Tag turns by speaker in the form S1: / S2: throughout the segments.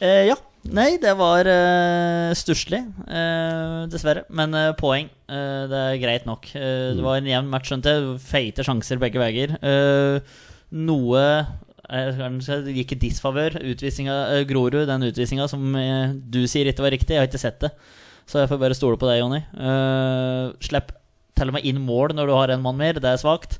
S1: Eh, Ja. Nei, det var uh, stusslig, eh, dessverre. Men eh, poeng. eh, det er greit nok. Eh, det var en jevn match, skjønte jeg. Feite sjanser begge veier. Eh, noe eh, det gikk i disfavør. Utvisninga- eh, Grorud, den utvisninga som eh, du sier ikke var riktig. Jeg har ikke sett det, så jeg får bare stole på deg, Jonny. Eh, slipp til og med inn mål når du har en mann mer. Det er svakt.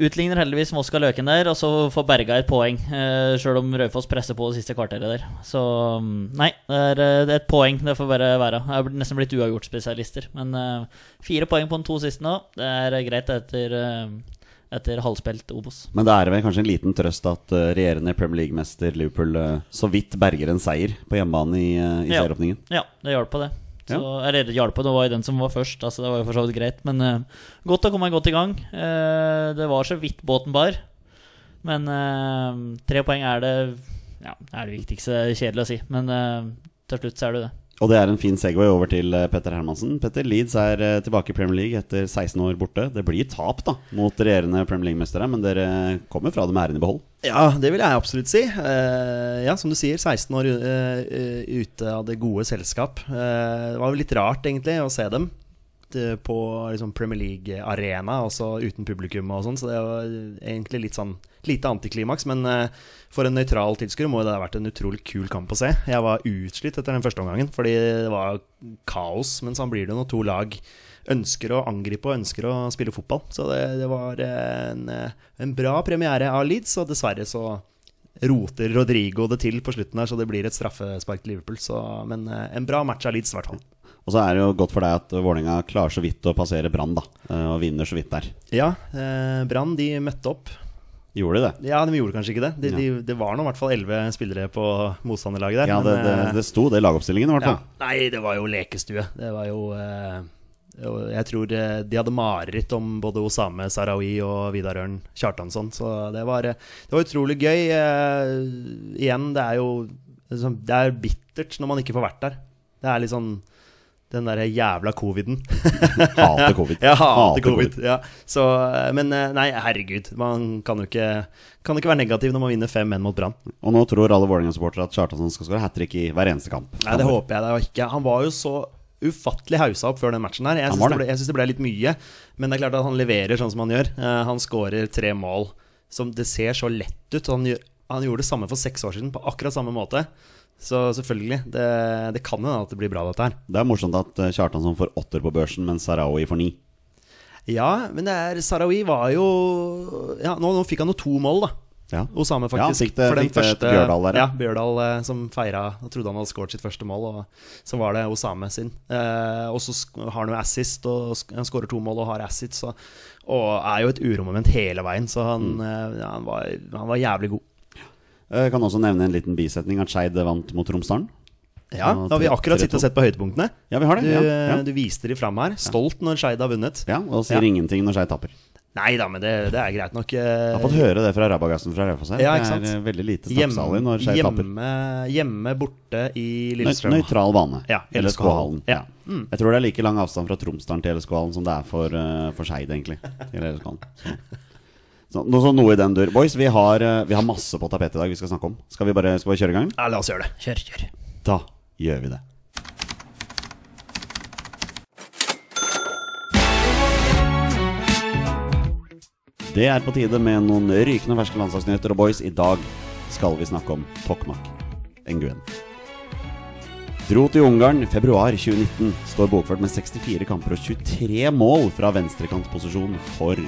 S1: Utligner heldigvis Moska Løken der, og så får Berga et poeng. Eh, Sjøl om Raufoss presser på det siste kvarteret der. Så mm, nei, det er, eh, det er et poeng. Det får bare være. Jeg er bl- nesten blitt uavgjort-spesialister. Men eh, fire poeng på de to siste nå. Det er eh, greit etter, eh, etter halvspilt Obos.
S2: Men det er vel kanskje en liten trøst at eh, regjerende Premier League-mester Liverpool eh, så vidt berger en seier på hjemmebane i, eh, i
S1: Ja.
S2: serieåpningen.
S1: Ja, det hjalp på det. Så,
S2: Ja.
S1: Eller det hjalp på, det var jo den som var først. Altså, det var jo for så vidt greit. Men eh, godt å komme godt i gang. Eh, det var så vidt båten bar. Men eh, tre poeng er det Ja, det er det viktigste. Det er Kjedelig å si. Men eh, til slutt så er det jo det.
S2: Og det er en fin segway over til eh, Petter Hermansen. Petter Leeds er eh, tilbake i Premier League etter 16 år borte. Det blir tap da, mot regjerende Premier League-mestere, men dere kommer fra det med æren i behold.
S3: Ja, det vil jeg absolutt si. Eh, ja, som du sier, 16 år eh, eh, ute av det gode selskap. Eh, det var jo litt rart, egentlig, å se dem eh, på liksom, Premier League-arena, altså uten publikum og sånn, så det var egentlig litt sånn lite antiklimaks. Men eh, for en nøytral tilskuer må jo det ha vært en utrolig kul kamp å se. Jeg var utslitt etter den første omgangen, fordi det var kaos. Men sånn blir det når to lag ønsker å angripe og ønsker å spille fotball. Så det, det var en, en bra premiere av Leeds, og dessverre så roter Rodrigo det til på slutten her, så det blir et straffespark til Liverpool. Så, men eh, en bra match av Leeds, i hvert fall.
S2: Og så er det jo godt for deg at Vålerenga klarer så vidt å passere Brann, da. eh, Og vinner så vidt der.
S3: Ja, eh, Brann de møtte opp.
S2: Gjorde de det?
S3: Ja, de gjorde kanskje ikke det. De, de, det var nå i hvert fall elleve spillere på motstanderlaget der.
S2: Ja, det,
S3: men,
S2: det,
S3: eh,
S2: det sto det i lagoppstillingen, i hvert
S3: Ja.
S2: fall.
S3: Nei, det var jo lekestue. Det var jo eh, og Jeg tror eh, de hadde mareritt om både Osame Sarawi og Vidar Ørn Kjartansson. Så det var, eh, det var utrolig gøy. Eh, igjen, det er jo liksom, Det er bittert når man ikke får vært der. Det er litt sånn den derre jævla coviden.
S2: Hater covid.
S3: Jeg hater covid. Ja. Så, eh, men eh, nei, herregud. Man kan jo ikke, kan ikke være negativ når man vinner 5-1 mot Brann.
S2: Og nå tror alle Vålerenga-supportere at Kjartansson skal skåre hat trick i hver eneste kamp.
S3: Nei, det håper jeg da ikke. Han var jo så ufattelig hausa opp før den matchen her. Jeg
S2: Han
S3: syns
S2: var
S3: det.
S2: det.
S3: ble- jeg syns det ble litt mye, men det er klart at han leverer sånn som han gjør. Eh, han skårer tre mål som det ser så lett ut. Han, gjør, han gjorde det samme for seks år siden på akkurat samme måte. Så selvfølgelig, det, det kan jo hende at det blir bra, dette her.
S2: Det er morsomt at eh, Kjartansson får åtter på børsen, mens Sarawi får ni.
S3: Ja, men det er Sarawi var jo Ja, nå, nå fikk han jo to mål, da.
S2: Ja.
S3: Osame,
S2: Ja, han
S3: faktisk.
S2: fikk det-
S3: for den
S2: fikk det til
S3: første,
S2: Bjørdal der, ja.
S3: Ja, Bjørdal eh, som feira og trodde han hadde skåret sitt første mål, og så var det Osame sin. Eh, og så sk- har han jo assist, og sk- han skårer to mål og har assist, så Og er jo et uromoment hele veien, så han,
S2: Mm.
S3: eh, ja, han, var, han var jævlig god.
S2: Eh, Jeg kan også nevne en liten bisetning at Skeid vant mot Romsdalen.
S3: Ja,
S2: Og
S3: da har vi
S2: tre-
S3: akkurat sittet
S2: 3-2.
S3: og sett på høydepunktene.
S2: Ja, vi har
S3: Du, eh,
S2: det. Ja, ja.
S3: du viste de fram her. Stolt når Skeid har vunnet.
S2: ja Og sier
S3: Ja.
S2: ingenting når Skei tapper.
S3: Nei da, men det, det er greit nok. eh,
S2: Jeg har fått høre det fra Rabagassen fra Raufoss her.
S3: Ja, ikke sant?
S2: det er eh, veldig lite straffesaler
S3: Hjemme,
S2: når Skei tapper.
S3: hjemme, hjemme borte i
S2: Nøy-
S3: Lillestrøm.
S2: Nøytral bane.
S3: Ja,
S2: LSK-hallen.
S3: LSK-hallen. Ja. Mm.
S2: Jeg tror det er like lang avstand fra Tromsdalen til LSK-hallen som det er for, eh, for Skeid, egentlig. Til LSK-hallen. Så. Så, noe, så noe i den dur. Boys, vi har, eh, vi har masse på tapetet i dag vi skal snakke om. Skal vi bare, skal vi bare kjøre i gang?
S3: Ja, la oss gjøre det.
S1: Kjør, kjør.
S2: Da gjør vi det. Det er på tide med noen rykende ferske landslagsnyheter. Og boys, i dag skal vi snakke om Tokmak Nguyen. Dro til Ungarn februar 2019. Står bokført med 64 kamper og 23 mål fra venstrekantposisjon for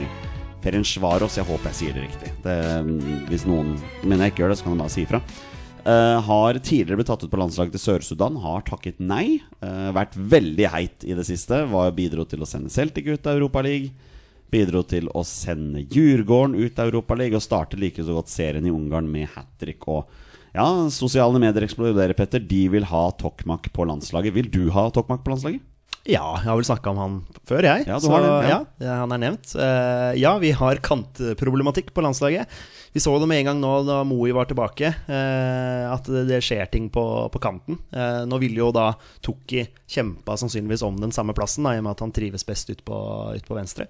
S2: Ferencvaros. Jeg håper jeg sier det riktig. Det, mm, hvis noen mener jeg ikke gjør det, så kan de bare si ifra. Eh, har tidligere blitt tatt ut på landslaget til Sør-Sudan, har takket nei. Eh, vært veldig heit i det siste. Var, bidro til å sende Celtic ut av Europaligaen. Bidro til å sende Djurgården ut av Europaligaen og starte like så godt serien i Ungarn med hat trick. Og ja, sosiale medier eksploderer, Petter. De vil ha Tokmak på landslaget. Vil du ha Tokmak på landslaget?
S3: Ja, jeg har vel snakka om han før, jeg.
S2: Ja, du har det, ja.
S3: ja. han er nevnt. Eh, ja, vi har kantproblematikk på landslaget. Vi så det med en gang nå da Moi var tilbake, eh, at det, det skjer ting på, på kanten. Eh, nå ville jo da Tukki kjempa sannsynligvis om den samme plassen, da, i og med at han trives best ut på, ut på venstre.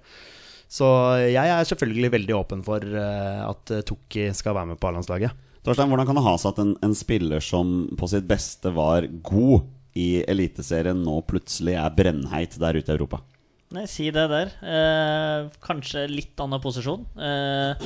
S3: Så jeg er selvfølgelig veldig åpen for eh, at Tukki skal være med på A-landslaget.
S2: Torstein, hvordan kan det ha seg at en, en spiller som på sitt beste var god i Eliteserien, nå plutselig er brennheit der ute i Europa?
S1: Nei, si det der. Eh, kanskje litt annen posisjon. Eh,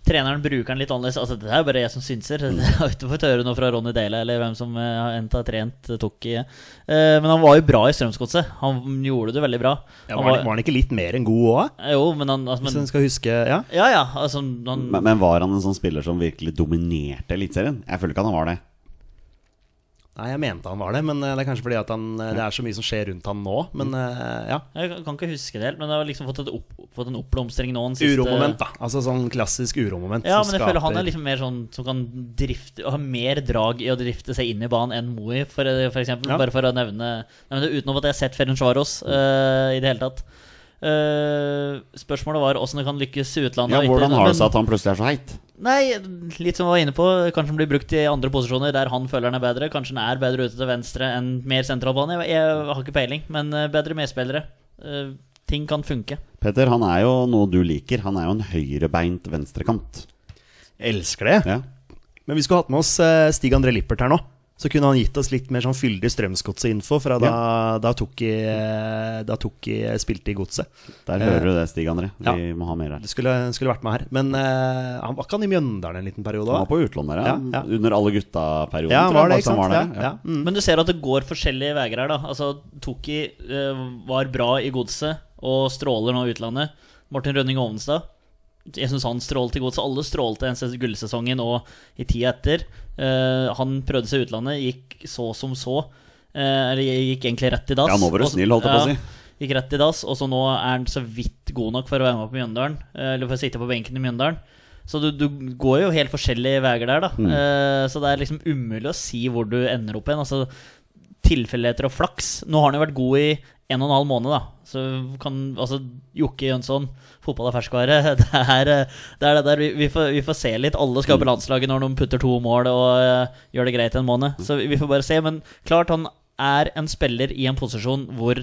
S1: treneren bruker den litt annerledes. Altså, det er jo bare jeg som synser. Jeg har ikke fått høre noe fra Ronny Dele eller hvem som eh, har endt har trent eh, Tokki. Eh, men han var jo bra i Strømsgodset. Han gjorde det veldig bra.
S3: Ja,
S1: Han
S3: var, han- var han ikke litt mer enn god òg?
S1: Eh, Jo, men han altså,
S3: Hvis en
S1: men,
S3: skal huske Ja.
S1: Ja, ja. Altså, han,
S2: Men, men var han en sånn spiller som virkelig dominerte Eliteserien? Jeg føler ikke han var det.
S3: Nei, jeg mente han var det, men eh, det er kanskje fordi at han, eh, det er så mye som skjer rundt han nå.
S1: Mm.
S3: Men eh, ja.
S1: jeg kan- kan ikke huske det helt, men det har liksom fått, et opp, fått en oppblomstring nå. den siste-
S3: Uromoment, da. Altså sånn klassisk uromoment.
S1: Ja,
S3: som
S1: men jeg føler han
S3: skaper-
S1: er liksom mer sånn som kan drifte ha mer drag i å drifte seg inn i banen enn Moi, for, for eksempel.
S3: Ja.
S1: Bare for å nevne nevne det utenom at jeg har sett Ferencvaros
S2: Mm.
S1: eh, i det hele tatt. Eh, spørsmålet var åssen det kan lykkes i utlandet.
S2: Ja,
S1: og ikke-
S2: Hvordan har det seg
S1: men-
S2: at han plutselig er så heit?
S1: Nei, litt som vi var inne på. Kanskje han blir brukt i andre posisjoner der han føler han er bedre. Kanskje han er bedre ute til venstre enn mer sentralbane. Jeg, jeg har ikke peiling, men eh, bedre medspillere. Eh, ting kan funke.
S2: Petter, han er jo noe du liker. Han er jo en høyrebeint venstrekant.
S3: Elsker det.
S2: Ja.
S3: Men vi skulle hatt med oss eh, Stig André Lippert her nå. Så kunne han gitt oss litt mer sånn fyldig Strømsgodset-info fra da, da Tokki eh, da Tokki spilte i Godset.
S2: Der hører du det, Stig André. Vi
S3: Eh, ja.
S2: må ha mer her.
S3: Det skulle, skulle vært med her. Men eh, han var ikke han i Mjøndalen en liten periode
S2: Han var
S3: òg?
S2: på utlån der, ja.
S3: Ja, ja.
S2: Under alle gutta-perioden.
S3: Ja, han
S2: tror jeg
S3: var det,
S2: faktisk
S3: ikke sant?
S2: han var der,
S3: ja. Ja. Mm.
S1: Men du ser at det går forskjellige veier her. da Altså Toki eh, var bra i godset og stråler nå i utlandet. Martin Rønning Ovenstad. Jeg syns han strålte i godset. Alle strålte den ses- gullsesongen og i tida etter. Eh, han prøvde seg i utlandet, gikk så som så. Eh, Eller gikk egentlig rett i dass.
S2: Ja, nå var du
S1: Og så-
S2: snill, holdt jeg på å
S1: ja,
S2: si.
S1: Gikk rett i dass, og så nå er han så vidt god nok for å være med på Mjøndalen. eh, Eller for å sitte på benken i Mjøndalen. Så du, du går jo helt forskjellige veier der, da.
S2: Mm.
S1: Eh, så det er liksom umulig å si hvor du ender opp igjen. Altså tilfeldigheter og flaks. Nå har han jo vært god i en og en halv måned, da. Så kan altså Jokke Jønsson, fotball er ferskvare. Det er eh, det er det der. Vi, vi, får, vi får se litt. Alle skal på landslaget når de putter to mål og eh, gjør det greit en måned. Så vi, vi får bare se. Men klart, han er en spiller i en posisjon hvor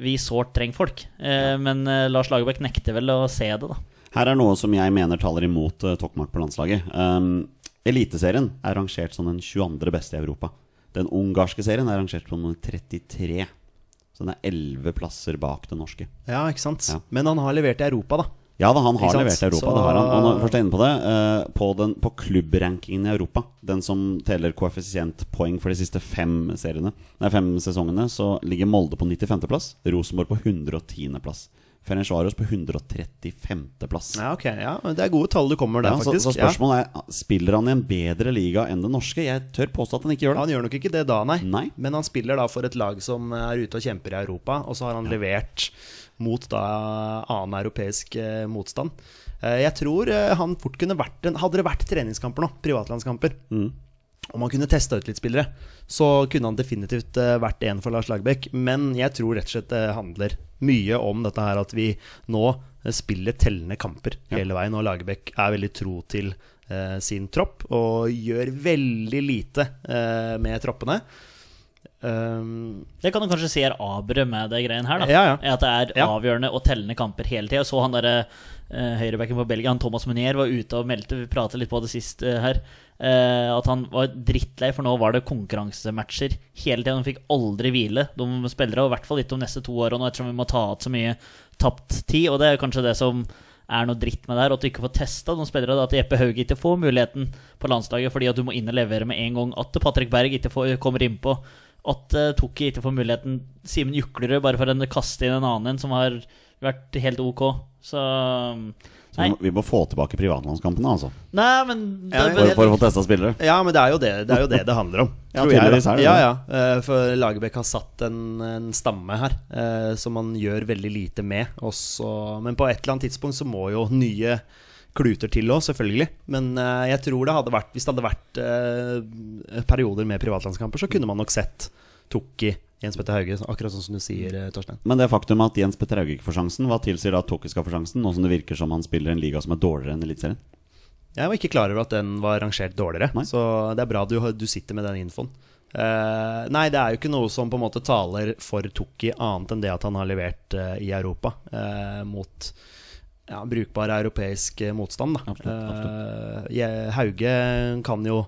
S1: vi sårt trenger folk. Eh, Men eh, Lars Lagerbäck nekter vel å se det, da.
S2: Her er noe som jeg mener taler imot eh, Tokmak på landslaget. Um, Eliteserien er rangert som den 22. beste i Europa. Den ungarske serien er rangert som nummer 33. Så den er 11 plasser bak den norske.
S3: ja, ikke sant.
S2: Ja.
S3: Men han har levert i Europa, da.
S2: Ja da, han
S3: Ikke
S2: har
S3: sant?
S2: levert i Europa.
S3: Så-
S2: Det har han. Og når vi først er inne på det, eh, på, den, på klubbrankingen i Europa, den som teller koeffisientpoeng for de siste fem, seriene, nei, fem sesongene, så ligger Molde på 95.-plass, Rosenborg på 110.-plass, Ferencvaros på 135.-plass.
S3: Ja, ok. Ja, men det er gode tall du kommer der,
S2: Ja, så,
S3: faktisk.
S2: så
S3: Ja.
S2: spørsmålet er Spiller han i en bedre liga enn den norske? Jeg tør påstå at han ikke gjør det.
S3: Han gjør nok ikke det da, nei.
S2: Nei.
S3: Men han spiller da for et lag som er ute og kjemper i Europa, og så har han levert mot da annen europeisk eh, motstand.
S2: Mm.
S3: Eh, jeg tror eh, han fort kunne vært en Hadde det vært treningskamper nå, privatlandskamper, om han kunne testa ut litt spillere, så kunne han definitivt eh, vært en for Lars Lagerbäck. Men jeg tror rett og slett det handler mye om dette her at vi nå eh, spiller tellende kamper
S2: Ja.
S3: hele veien. Og Lagerbäck er veldig tro til eh, sin tropp og gjør veldig lite eh, med troppene. Um,
S1: Det kan du kanskje se er aberet med det greien her. da
S3: Ja, ja.
S1: At det er
S3: Ja.
S1: avgjørende og tellende kamper hele tida. Så han derre eh, høyrebacken på Belgia, han Thomas Munier, var ute og meldte Vi pratet litt på det sist eh, her. eh, at han var drittlei, for nå var det konkurransematcher hele tida. De fikk aldri hvile, de spillere. Og i hvert fall ikke de neste to åra nå, ettersom vi må ta igjen så mye tapt tid. Og det er kanskje det som er noe dritt med det her, og at du ikke får testa noen spillere. da, At Jeppe Hauge ikke får muligheten på landslaget fordi at du må inn og levere med en gang. At Patrick Berg ikke får, kommer innpå. At uh, Tokki ikke får muligheten. Simen Juklerud, bare for å kaste inn en annen en som har vært helt ok. Så um,
S2: Så
S1: Nei,
S2: vi må, vi må få tilbake privatlandskampene, altså.
S1: nei men
S3: Ja,
S1: det,
S2: For, for å få testa spillere.
S3: Ja, men det er jo det det, er jo det, det handler om.
S2: Ja,
S3: tror jeg, da.
S2: tydeligvis er det det.
S3: ja, ja. Eh, For Lagerbäck har satt en, en stamme her eh, som han gjør veldig lite med. Og så- men på et eller annet tidspunkt så må jo nye kluter til òg, selvfølgelig. Men eh, jeg tror det hadde vært hvis det hadde vært eh, perioder med privatlandskamper, så kunne man nok sett Tukki, Jens Petter Hauge, akkurat sånn som du sier, eh, Torstein.
S2: Men det faktum at Jens Petter Hauge ikke får sjansen, hva tilsier at Tokki skal få sjansen, nå som det virker som han spiller i en liga som er dårligere enn Eliteserien?
S3: Jeg var ikke klar over at den var rangert dårligere,
S2: Nei.
S3: så det er bra du, har- du sitter med den infoen. Eh, nei, det er jo ikke noe som på en måte taler for Tukki, annet enn det at han har levert eh, i Europa eh, mot ja, brukbar europeisk eh, motstand. Da.
S2: Absolutt,
S3: Eh, jeg- Hauge kan jo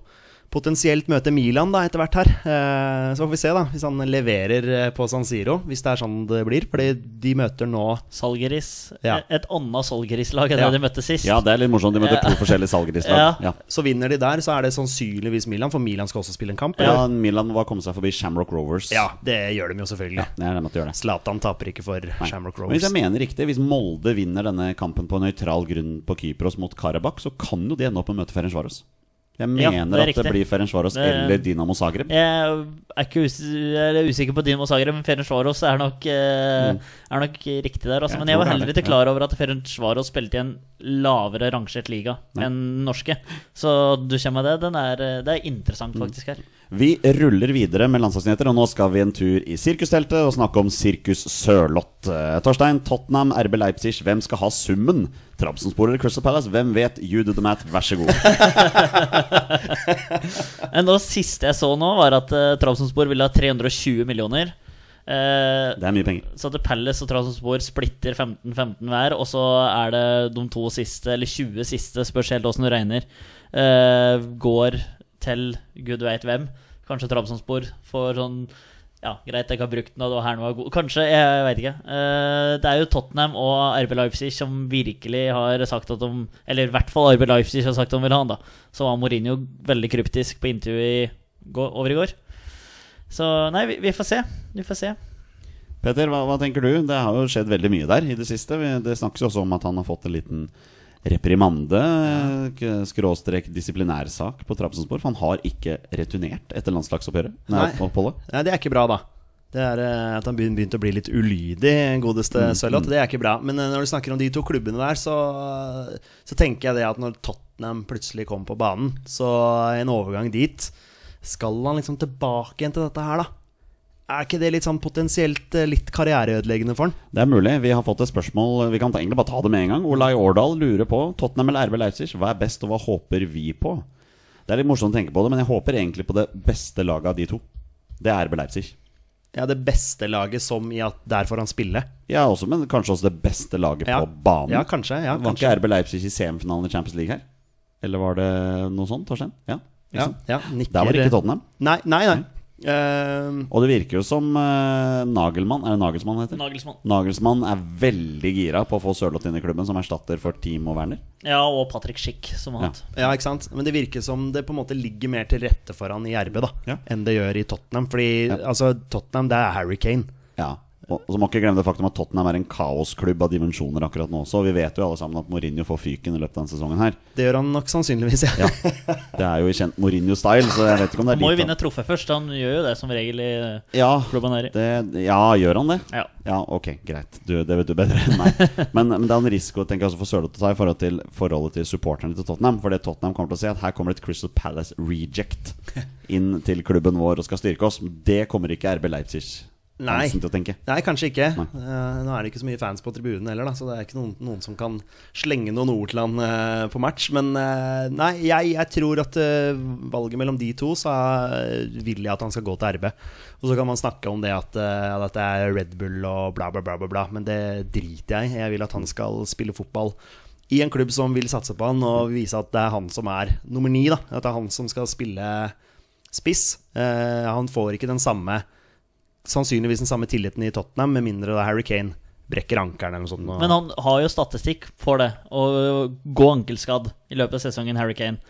S3: potensielt møte Milan da, etter hvert her. Eh, så får vi se da, hvis han leverer eh, på San Siro, hvis det er sånn det blir. Fordi de møter nå
S1: Salgeris.
S3: Ja.
S1: Et annet Salgeris-lag enn
S3: Ja.
S1: det de møtte sist.
S2: Ja, det er litt morsomt. De møter
S1: Ja.
S2: to forskjellige salgerislag. Ja.
S3: Så vinner de der, så er det sannsynligvis Milan, for Milan skal også spille en kamp.
S2: Ja.
S3: eller?
S2: Milan var kommet seg forbi Shamrock Rovers.
S3: Ja, det gjør de jo selvfølgelig.
S2: Ja, jeg er nødt til å gjøre det.
S3: Zlatan taper ikke for
S2: Nei.
S3: Shamrock
S2: Men Hvis
S3: Rovers.
S2: jeg mener riktig, hvis Molde vinner denne kampen på nøytral grunn på Kypros mot Karabakh, så kan jo de ende opp med å møte Ferencvaros. Jeg
S1: Ja,
S2: mener
S1: det er
S2: at det
S1: riktig.
S2: blir Ferencvaros
S1: Det-
S2: eller Dinamo Zagreb.
S1: Jeg er, ikke us jeg er usikker på Dinamo Zagreb, men Ferencvaros er nok, eh, er nok riktig der. Altså.
S2: Mm. Jeg
S1: men jeg
S2: tror
S1: var
S2: det er
S1: heller
S2: det,
S1: ikke klar over at Ferencvaros spilte i en lavere rangert liga enn norske. Så du kommer med det. Den er, eh, det er interessant faktisk her.
S2: Vi ruller videre med landslagsnyheter, og nå skal vi en tur i sirkusteltet og snakke om Sirkus Sørloth. Eh, Torstein, Tottenham, RB Leipzig, hvem skal ha summen? Trabzonspor eller Crystal Palace? Hvem vet? You do the math, vær så god.
S1: Men det siste jeg så nå, var at uh, Trabzonspor ville ha 320 millioner. Eh,
S2: Det er mye penger.
S1: så at Palace og Trabzonspor splitter 15-15 hver, og så er det de to siste, eller 20 siste, spørs helt åssen du regner, eh, går til gud veit hvem. Kanskje Trabzonspor får sånn Ja, greit, jeg ikke har brukt den, og det var her den var god Kanskje, jeg veit ikke. Eh, det er jo Tottenham og RB Leipzig som virkelig har sagt at de Eller i hvert fall RB Leipzig har sagt de vil ha han, da. Så var Mourinho veldig kryptisk på intervjuet i går, over i går. Så nei, vi, vi får se. Vi får se.
S2: Peter, hva, hva tenker du? Det har jo skjedd veldig mye der i det siste. Vi- Det snakkes jo også om at han har fått en liten reprimande, k- skråstrek disiplinærsak på Trabzonspor. For han har ikke returnert etter landslagsoppgjøret. Nei,
S3: Nei.
S2: oppholdet.
S3: Nei, det er ikke bra, da. Det er eh, At han begyn- begynte å bli litt ulydig, godeste Sørloth. Det er ikke bra. Men eh, når du snakker om de to klubbene der, så, så tenker jeg det at når Tottenham plutselig kom på banen, så en overgang dit Skal han liksom tilbake igjen til dette her, da? Er ikke det litt sånn potensielt eh, litt karriereødeleggende for han?
S2: Det er mulig. Vi har fått et spørsmål. Vi kan ta, egentlig bare ta det med en gang. Olai Årdal lurer på Tottenham eller RB Leipzig. Hva er best, og hva håper vi på? Det er litt morsomt å tenke på det, men jeg håper egentlig på det beste laget av de to. Det er RB Leipzig.
S3: Ja, det beste laget som i at der får han spille.
S2: Ja, også, men kanskje også det beste laget
S3: Ja.
S2: på banen.
S3: Ja, kanskje. Ja,
S2: Var
S3: kanskje.
S2: ikke RB Leipzig i semifinalen i Champions League her? Eller var det noe sånt, Torstein? Ja, ikke
S3: Ja,
S2: sant?
S3: ja,
S2: Der
S3: nikker.
S2: var det ikke Tottenham.
S3: Nei, nei. nei. Eh,
S2: Og det virker jo som eh, Nagelmann Er det Nagelsmann han heter?
S1: Nagelsmann.
S2: Nagelsmann er veldig gira på å få Sørloth inn i klubben som erstatter for Team og Werner.
S1: Ja, og Patrick Schick, som har
S2: Ja.
S1: hatt.
S3: Ja, ikke sant? Men det virker som det på en måte ligger mer til rette for han i RB da
S2: Ja.
S3: enn det gjør i Tottenham. Fordi altså, Tottenham, det er Harry Kane.
S2: Ja. Og og så må ikke glemme det faktum at Tottenham er en kaosklubb av dimensjoner akkurat nå også. Og vi vet jo alle sammen at Mourinho får fyken i løpet av denne sesongen her.
S3: Det gjør han nok sannsynligvis, ja.
S2: Det er jo i kjent Mourinho-style, så jeg vet ikke om det
S1: Han
S2: er
S1: må jo
S2: lite-
S1: vinne et trofé først. Han gjør jo det som regel i eh,
S2: Ja,
S1: klubben her. i.
S2: det, ja, gjør han det?
S1: Ja.
S2: Ja, ok, greit. Du, det vet du bedre enn meg. Men, men det er en risiko tenker jeg, også for Sørloth å ta i forhold til forholdet til supporterne til Tottenham. For det Tottenham kommer til å si, at her kommer et Crystal Palace reject inn til klubben vår og skal styrke oss. Det kommer ikke RB Leipzig
S3: Nei.
S2: til å tenke.
S3: Nei, kanskje ikke.
S2: Nei.
S3: Eh, nå er det ikke så mye fans på tribunen heller, da, så det er ikke noen, noen som kan slenge noen ord til han eh, på match. Men eh, nei, jeg, jeg tror at eh, valget mellom de to, så eh, vil jeg at han skal gå til RB. Og så kan man snakke om det at eh, at det er Red Bull og bla, bla, bla, bla, bla. Men det driter jeg i. Jeg vil at han skal spille fotball. I en klubb som vil satse på han og vise at det er han som er nummer ni. Da. At det er han som skal spille spiss. Eh, han får ikke den samme sannsynligvis den samme tilliten i Tottenham, med mindre da Harry Kane brekker ankelen eller noe sånt.
S1: Men han har jo statistikk for det, å gå ankelskadd i løpet av sesongen, Harry Kane.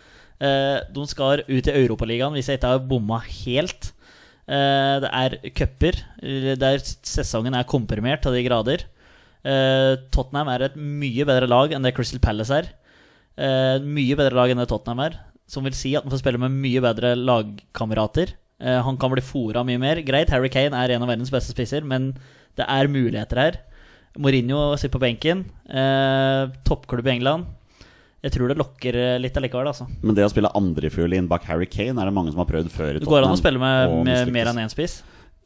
S1: Eh, de skal ut i Europaligaen hvis jeg ikke har bomma helt. Eh, det er cuper eh, der sesongen er komprimert til de grader. Eh, Tottenham er et mye bedre lag enn det Crystal Palace er. Eh, mye bedre lag enn det Tottenham er. Som vil si at han får spille med mye bedre lagkamerater. Eh, han kan bli fora mye mer. Greit, Harry Kane er en av verdens beste spisser, men det er muligheter her. Mourinho sitter på benken. Eh, toppklubb i England. Jeg tror det lokker eh, litt allikevel, altså.
S2: Men det å spille andrefiol inn bak Harry Kane er det mange som har prøvd før i
S1: Det
S2: Tottenham.
S1: går an å spille med,
S2: og
S1: med
S2: mislykkes.
S1: mer enn én spiss.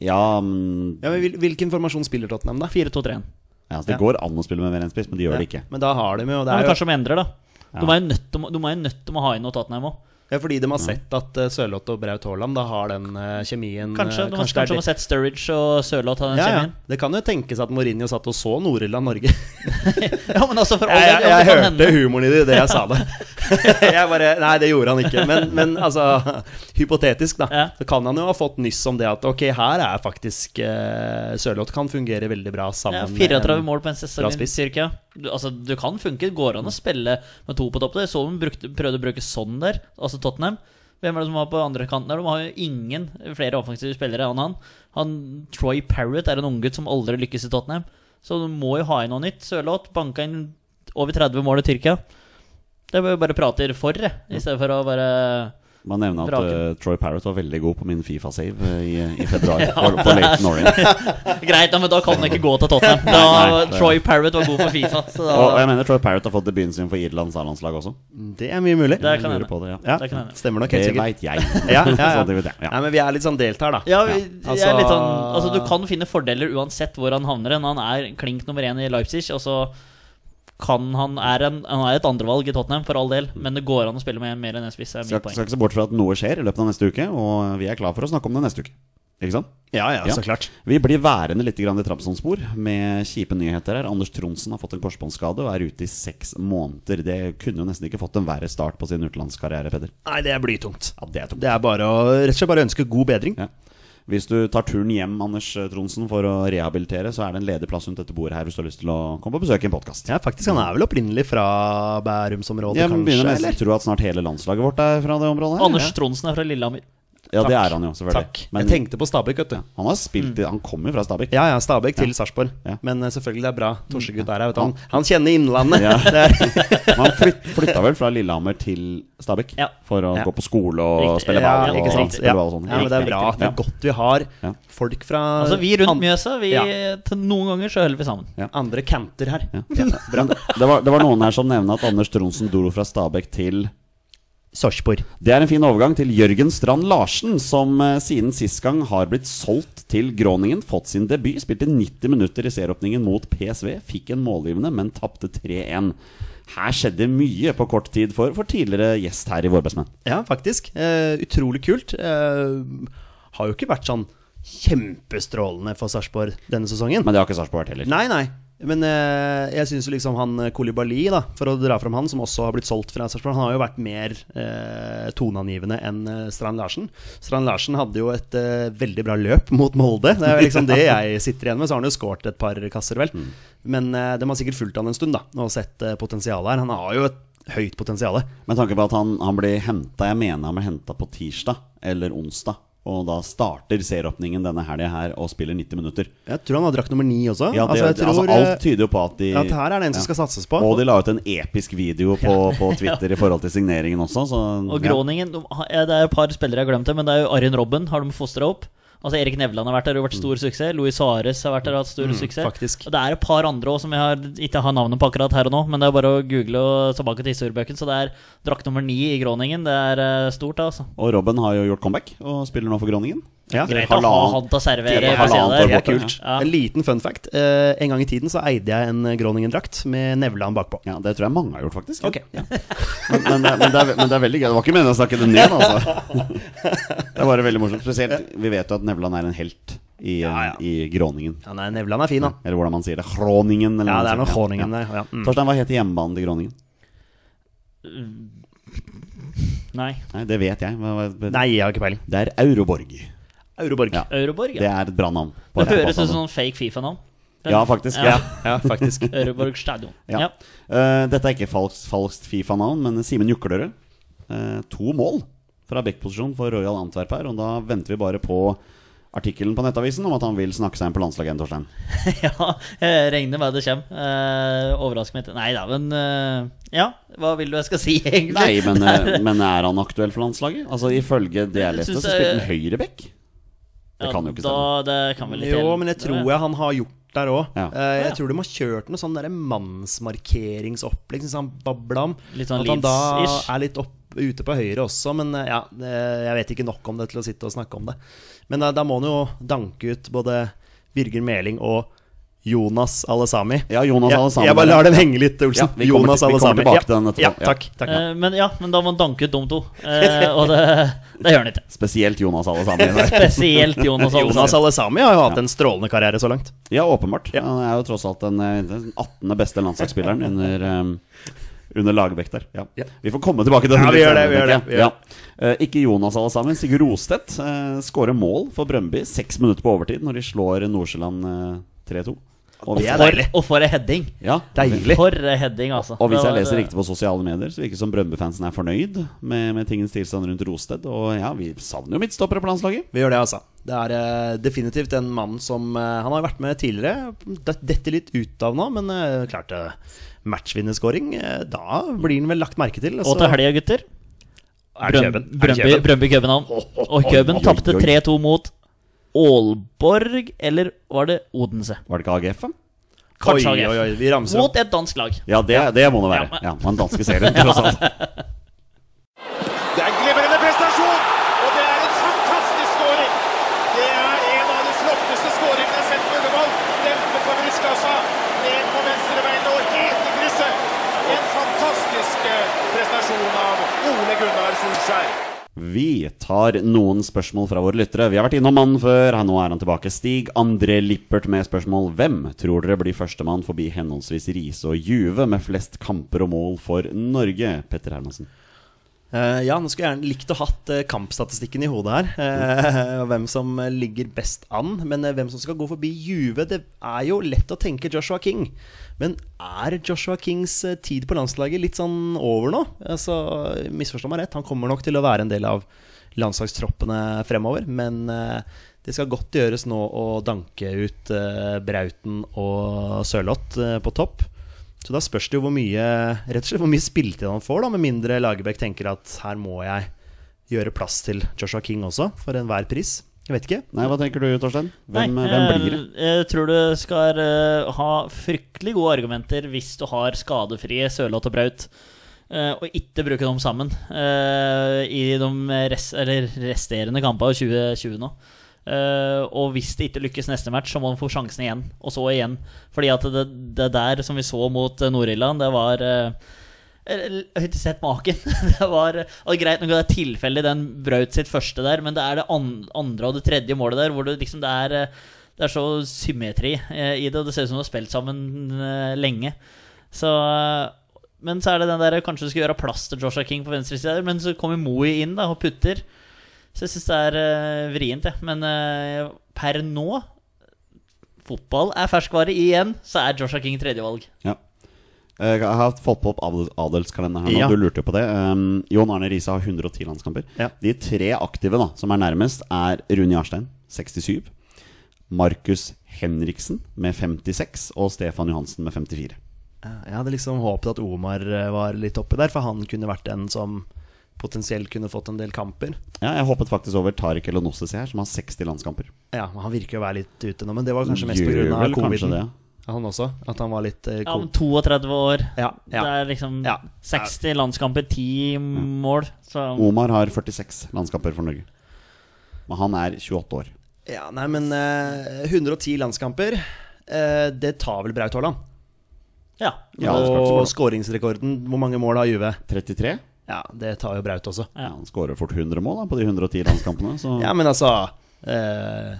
S2: Ja, men,
S3: Ja, men hvil- Hvilken formasjon spiller Tottenham, da?
S1: 4-2-3-1.
S2: ja altså, det
S3: Ja.
S2: går an å spille med mer enn spiss, men de gjør det
S3: Ja,
S2: ikke.
S3: Men da har de jo, det
S1: Ja,
S3: er
S1: men
S3: jo
S1: kanskje de endrer, da.
S2: Ja.
S1: De er jo nødt til å- de er jo nødt til å ha inn noe Tottenham òg.
S3: ja, fordi de har sett at eh, Sørloth og Braut Haaland da har den eh, kjemien eh,
S1: Kanskje, de har-
S3: det er
S1: kanskje de har sett Sturridge og Sørloth ha den
S3: ja, ja.
S1: kjemien.
S3: Det kan jo tenkes at Mourinho satt og så Nord-Irland Norge. Jeg,
S1: Ja. men altså, for all
S3: jeg,
S1: del, ja, det kan
S3: hørte
S1: hende.
S3: humoren i det idet jeg sa det. Jeg bare, Nei, det gjorde han ikke. Men, men altså, hypotetisk, da.
S1: Ja.
S3: Så kan han jo ha fått nyss om det at ok, her er faktisk eh, Sørloth kan fungere veldig bra
S1: Ja,
S3: sammen med
S1: 34
S3: en-
S1: mål på en
S3: Bra
S1: sesong i
S3: spiss.
S1: Tyrkia. Du, altså, du kan funke. Det går an å spille med to på topp. Jeg så de brukte, prøvde å bruke sånn der, altså Tottenham. Hvem er det som var på andre kanten der? De har jo ingen flere offensive spillere enn han. han Troy Parrott er en unggutt som aldri lykkes i Tottenham. Så du må jo ha inn noe nytt. Sørloth banka inn over 30 mål i Tyrkia. Det er bare prater for, jeg, i stedet for å bare
S2: Man nevner at
S1: Vraken.
S2: eh, Troy Parrott var veldig god på min Fifa-save eh, i, i februar. for, for Leighton Orient.
S1: Greit, da, men da kan han ikke gå til Tottenham. Da,
S2: nei, det-
S1: Troy Parrott var god på Fifa. Så da,
S2: Og, eh, og jeg mener Troy Parrott har fått debuten sin for Irlands A-landslag også.
S3: Det er mye mulig.
S1: det
S2: Jeg
S1: kan
S2: lurer
S1: hende.
S2: på det, ja.
S3: Ja,
S1: Det kan hende.
S3: stemmer nok
S2: Det
S3: helt sikkert.
S2: veit jeg.
S3: Ja, ja, ja.
S2: Sånn det vet jeg, ja.
S3: Nei, men vi er litt sånn delt her, da.
S1: Ja, vi, jeg
S3: altså-
S1: er litt sånn, altså, du kan finne fordeler uansett hvor han havner. hen. Han er klink nummer én i Leipzig, og så kan han er, en, han er et andrevalg i Tottenham, for all del. Men det går an å spille med mer enn en spiss. er
S2: Skal,
S1: mitt poeng.
S2: skal ikke se bort fra at noe skjer i løpet av neste uke, og vi er klar for å snakke om det neste uke. Ikke sant?
S3: Ja, ja,
S2: Ja.
S3: så klart.
S2: Vi blir værende litt grann i Trabzon-spor med kjipe nyheter her. Anders Tronsen har fått en korsbåndskade og er ute i seks måneder. Det kunne jo nesten ikke fått en verre start på sin utenlandskarriere, Peder.
S3: Nei, det er blytungt.
S2: Ja, det er tungt.
S3: Det er bare å, rett og slett bare ønske god bedring.
S2: Ja. Hvis du tar turen hjem Anders Tronsen, for å rehabilitere, så er det en ledig plass rundt dette bordet her hvis du har lyst til å komme på besøk i en podkast.
S3: Ja, faktisk, Han er vel opprinnelig fra Bærumsområdet,
S2: Jeg begynner
S3: kanskje?
S2: nesten å
S3: Eller?
S2: tro at snart hele landslaget vårt er fra det området. her
S1: Anders Tronsen er fra Lillehammer.
S2: Ja, det er han jo, selvfølgelig.
S3: Takk.
S2: Men
S3: Jeg Mm. tenkte på Stabæk, vet du.
S2: han har spilt i Han kommer jo fra Stabæk.
S3: Ja ja, Stabæk til Sarpsborg.
S2: Ja.
S3: Men eh, selvfølgelig, det er bra. Torsegutt er her, vet du. Han, han kjenner Innlandet.
S2: Ja.
S3: Det
S2: Men
S3: er,
S2: Han flyt, flytta vel fra Lillehammer til Stabæk
S1: Ja.
S2: for å
S3: Ja.
S2: gå på skole og
S1: Riktig.
S2: spille
S3: ja,
S2: ball.
S1: Ja,
S2: og,
S3: ikke sant?
S2: spille
S3: Ja.
S2: ball og sånn.
S3: ja, men Det er bra at det
S2: Ja.
S3: er godt vi har
S2: Ja.
S3: folk fra
S1: Altså, vi rundt
S3: an-
S1: Mjøsa, vi,
S3: Ja.
S1: til noen ganger så holder vi sammen.
S3: andre kanter her.
S2: Ja. Men Det, var, det var noen her som nevnte at Anders Tronsen dro fra Stabæk til
S3: Sarpsborg.
S2: Det er en fin overgang til Jørgen Strand Larsen, som eh, siden sist gang har blitt solgt til Groningen. Fått sin debut, spilte 90 minutter i serieåpningen mot PSV. Fikk en målgivende, men tapte 3-1. Her skjedde mye på kort tid for, for tidligere gjest her i Vårbestmenn.
S3: Ja, faktisk. Eh, utrolig kult. Eh, har jo ikke vært sånn kjempestrålende for Sarpsborg denne sesongen.
S2: Men det har ikke Sarpsborg vært heller.
S3: Nei, nei. Men eh, jeg syns jo liksom han eh, Kolibali, da, for å dra fram han, som også har blitt solgt fra Sarpsborg, han har jo vært mer eh, toneangivende enn eh, Strand Larsen. Strand Larsen hadde jo et eh, veldig bra løp mot Molde. Det er jo liksom det jeg sitter igjen med. Så har han jo skåret et par kasser, vel.
S2: Mm.
S3: Men eh, de har sikkert fulgt han en stund da, og sett eh, potensialet her. Han har jo et høyt potensial.
S2: Med tanke på at han, han ble henta Jeg mener han ble henta på tirsdag eller onsdag. Og da starter serieåpningen denne helga her og spiller 90 minutter.
S3: Jeg tror han har drakt nummer ni også.
S2: Ja, det,
S3: altså, jeg
S2: altså,
S3: tror,
S2: alt tyder jo på at de
S3: at her er det en som skal satses på.
S2: Og de la ut en episk video på, på Twitter i forhold til signeringen også. Så,
S1: Og
S2: ja.
S1: Groningen de, har- ja, Det er et par spillere jeg har glemt, det, men det er jo Arjen Robben har de fostra opp. Altså Erik Nevland har vært der og vært
S2: Mm.
S1: stor suksess. Louis Suárez har vært der og hatt stor suksess.
S3: faktisk.
S1: Og det er et par andre også som jeg har, ikke har navnet på akkurat her og nå, men det er bare å google og tilbake til historiebøkene. Så det er drakt nummer ni i Groningen. Det er eh, stort, da, altså.
S2: Og Robben har jo gjort comeback og spiller nå for Groningen.
S3: Ja.
S2: Etter
S1: Greit å ha
S2: halvannen-
S1: han til å servere
S2: Ja,
S1: på siden
S2: halvannet år
S1: der.
S2: bort.
S3: det er kult.
S1: Ja.
S3: En liten fun fact. Eh, en gang i tiden så eide jeg en eh, Groningen-drakt med Nevland bakpå.
S2: Ja, det tror jeg mange har gjort, faktisk.
S3: Ok.
S2: Ja. Men, men, det er- men, det er, men det er veldig gøy. Det var ikke meningen å snakke det ned, altså. Det er bare veldig morsomt. Spesielt, vi vet jo at Nevland er en helt i,
S3: Ja, ja.
S2: i Groningen.
S3: Ja, nei, Nevland er fin, han.
S2: Eller hvordan man sier det. Groningen. Eller
S3: Ja, det er
S2: noe
S3: noe
S2: sånt.
S3: Groningen
S2: Mm. Ja.
S3: der. Ja. Mm.
S2: Torstein, hva heter hjemmebanen til Groningen?
S1: Nei.
S2: Nei, det vet jeg. Hva- hva-
S3: Nei, jeg har ikke peiling.
S2: Det er Euroborg.
S3: Euroborg.
S2: Ja.
S1: Euroborg,
S2: Det
S1: ja.
S2: er et bra navn.
S1: Det høres ut som sånn fake Fifa-navn.
S2: Ja, faktisk. Ja.
S1: Ja.
S3: Ja, faktisk.
S1: Euroborg stadion.
S2: Ja.
S1: Ja.
S2: Eh, dette er ikke falskt falskt Fifa-navn, men Simen Juklerød. eh, to mål fra backposisjon for Royal Antwerp her, og da venter vi bare på artikkelen på Nettavisen om at han vil snakke seg inn på landslaget igjen, Torstein.
S1: ja, jeg regner med det kommer. Eh, overrasker meg ikke. Nei da, men eh, Ja, hva vil du jeg skal si, egentlig?
S2: Nei, men, eh, men er han aktuell for landslaget? Altså Ifølge det jeg leste, så
S1: Synes
S2: spilte
S1: jeg-
S2: han høyreback. Det kan jo ikke
S1: da,
S2: stemme.
S1: det kan vel ikke
S3: Jo,
S1: hende.
S3: men jeg tror jeg han har gjort der òg.
S2: Ja.
S1: Ja.
S3: Jeg tror de har kjørt noe sånn der mannsmarkeringsopplegg som han babla om.
S1: Litt sånn
S3: At han da
S1: Leeds-ish.
S3: er litt opp, ute på høyre også, men eh, ja, eh, jeg vet ikke nok om det til å sitte og snakke om det. Men eh, da må han jo danke ut både Birger Meling og Jonas Alesami.
S2: Ja, Jonas
S3: jeg,
S2: Alle Sami.
S3: Jeg bare lar dem henge litt,
S2: Ja,
S3: Olsen.
S2: vi kommer
S3: Jonas
S2: til- vi
S3: Alle
S2: kommer
S3: Sami.
S2: tilbake til den etterpå.
S3: ja,
S2: Ja.
S3: takk. takk.
S1: Eh, men ja, men da må han danke ut de to. Eh, og det, det gjør han ikke.
S2: Spesielt Jonas alle sammen.
S1: Spesielt Jonas
S3: Jonas
S1: Alesand.
S3: Alesami Altså, har jo hatt en strålende karriere så langt.
S2: Ja, åpenbart.
S3: Ja.
S2: Han er jo tross alt den eh, den 18. beste landslagsspilleren under, um, under Lagerbäck der. Ja.
S3: Ja.
S2: Vi får komme tilbake til den
S3: Ja, vi
S2: litt
S3: gjør
S2: senere,
S3: det, vi gjør
S2: tenker jeg.
S3: det, vi gjør
S2: Ja. Eh, ikke Jonas alle sammen. Sigurd Rostedt uh, skårer mål for Brøndby seks minutter på overtid når de slår Nordsjøland eh, 3-2. Og
S3: Det er
S1: For,
S3: deilig.
S1: og for ei heading.
S2: ja.
S3: Deilig.
S1: For ei heading, altså.
S2: Og hvis
S1: Det
S2: jeg
S1: var-
S2: leser riktig på sosiale medier, så virker det som Brøndby-fansen er fornøyd med, med tingens tilstand rundt Rosted. Og ja, vi savner jo midtstoppere på landslaget.
S3: Vi gjør det, altså. Det er eh, definitivt en mann som eh, Han har vært med tidligere. Det detter litt ut av nå, men eh, klart uh, matchvinnerskåring eh, Da blir han vel lagt merke til. altså.
S1: Og til helga, gutter.
S3: Er det Kjøben? Er det
S1: Brøndby-
S3: Kjøben?
S1: Brøndby København. Og Køben
S2: oi,
S1: tapte
S2: oi.
S1: 3-2 mot Aalborg, eller var det Odense?
S2: Var det ikke AGF, da?
S1: Kanskje
S3: Oi, oi,
S1: AGF.
S3: oi, vi ramser opp.
S1: Mot et dansk lag.
S2: Ja, det, det må det være. Ja, Den danske serien, tross alt.
S4: Det er glimrende prestasjon, og det er en fantastisk scoring. Det er en av de flotteste scoringene jeg har sett på Ullevål. Dempe på brystkassa, ned på venstrebeinet og helt i krysset. En fantastisk eh, prestasjon av Ole Gunnar Solskjær.
S2: Vi tar noen spørsmål fra våre lyttere. Vi har vært innom mannen før. Her nå er han tilbake. Stig André Lippert med spørsmål Hvem tror dere blir førstemann forbi henholdsvis Riise og Juve med flest kamper og mål for Norge? Petter Hermansen.
S3: Eh, ja, nå skulle jeg gjerne likt å hatt eh, kampstatistikken i hodet her. eh, og hvem som eh, ligger best an. Men eh, hvem som skal gå forbi Juve Det er jo lett å tenke Joshua King. Men er Joshua Kings eh, tid på landslaget litt sånn over nå? Altså, Misforstå meg rett, han kommer nok til å være en del av landslagstroppene fremover. Men eh, det skal godt gjøres nå å danke ut eh, Brauten og Sørloth eh, på topp. Så da spørs det jo hvor mye Rett og slett hvor mye spiltid han får, da med mindre Lagerbäck tenker at her må jeg gjøre plass til Joshua King også, for enhver pris. Jeg vet ikke.
S2: Nei, hva tenker du, Torstein? Hvem,
S1: Nei,
S2: hvem
S1: eh,
S2: blir det?
S1: Jeg tror du skal eh, ha fryktelig gode argumenter hvis du har skadefrie Sørloth og Braut. eh, og ikke bruke dem sammen eh, i de res eller resterende kampene av 2020 nå. Eh, og hvis det ikke lykkes neste match, så må han få sjansen igjen. Og så igjen. Fordi at det, det der som vi så mot eh, Nord-Irland, det var eh, jeg har ikke sett maken. Det var og greit nok at det er tilfeldig, den brøt sitt første der, men det er det an- andre og det tredje målet der hvor det liksom det er eh, Det er så symmetri eh, i det, og det ser ut som du har spilt sammen eh, lenge. Så eh, Men så er det den der Kanskje du skal gjøre plass til Joshua King på venstre side, der, men så kommer Moe inn da og putter. Så jeg syns det er eh, vrient, jeg. Men eh, per nå Fotball er ferskvare igjen, så er Joshua King tredjevalg.
S2: Ja. Eh, Jeg har fått på opp adels- adelskalenderen her nå.
S3: Ja.
S2: Du lurte jo på det. Um, Jon Arne Riise har 110 landskamper.
S3: Ja.
S2: De tre aktive da som er nærmest, er Rune Jarstein 67, Markus Henriksen med 56 og Stefan Johansen med 54.
S3: Jeg hadde liksom håpet at Omar eh, var litt oppi der, for han kunne vært en som potensielt kunne fått en del kamper.
S2: Ja, jeg hoppet faktisk over Tariq Elonossi her, som har 60 landskamper.
S3: Ja, men Han virker å være litt ute nå, men det var kanskje mest
S2: Gjør
S3: pga.
S2: vel kanskje
S3: coviden.
S2: det.
S3: Han også. At han var litt eh,
S1: Ja, om
S3: covid.
S1: 32 år.
S3: Ja, ja.
S1: Det er liksom
S3: Ja. Mm.
S1: 60 landskamper, 10 mål. Så
S3: Oh.
S2: Omar har 46 landskamper for Norge. Men han er 28 år.
S3: ja nei, men eh, 110 landskamper, eh, det tar vel Braut Haaland?
S1: ja.
S2: Ja, det er klart som
S3: og
S2: det.
S3: skåringsrekorden, hvor mange mål har Juve?
S2: 33.
S3: Ja, det tar jo Braut også.
S2: Ja, han skårer fort 100 mål da, på de 110 landskampene. Så
S3: Ja, men altså eh,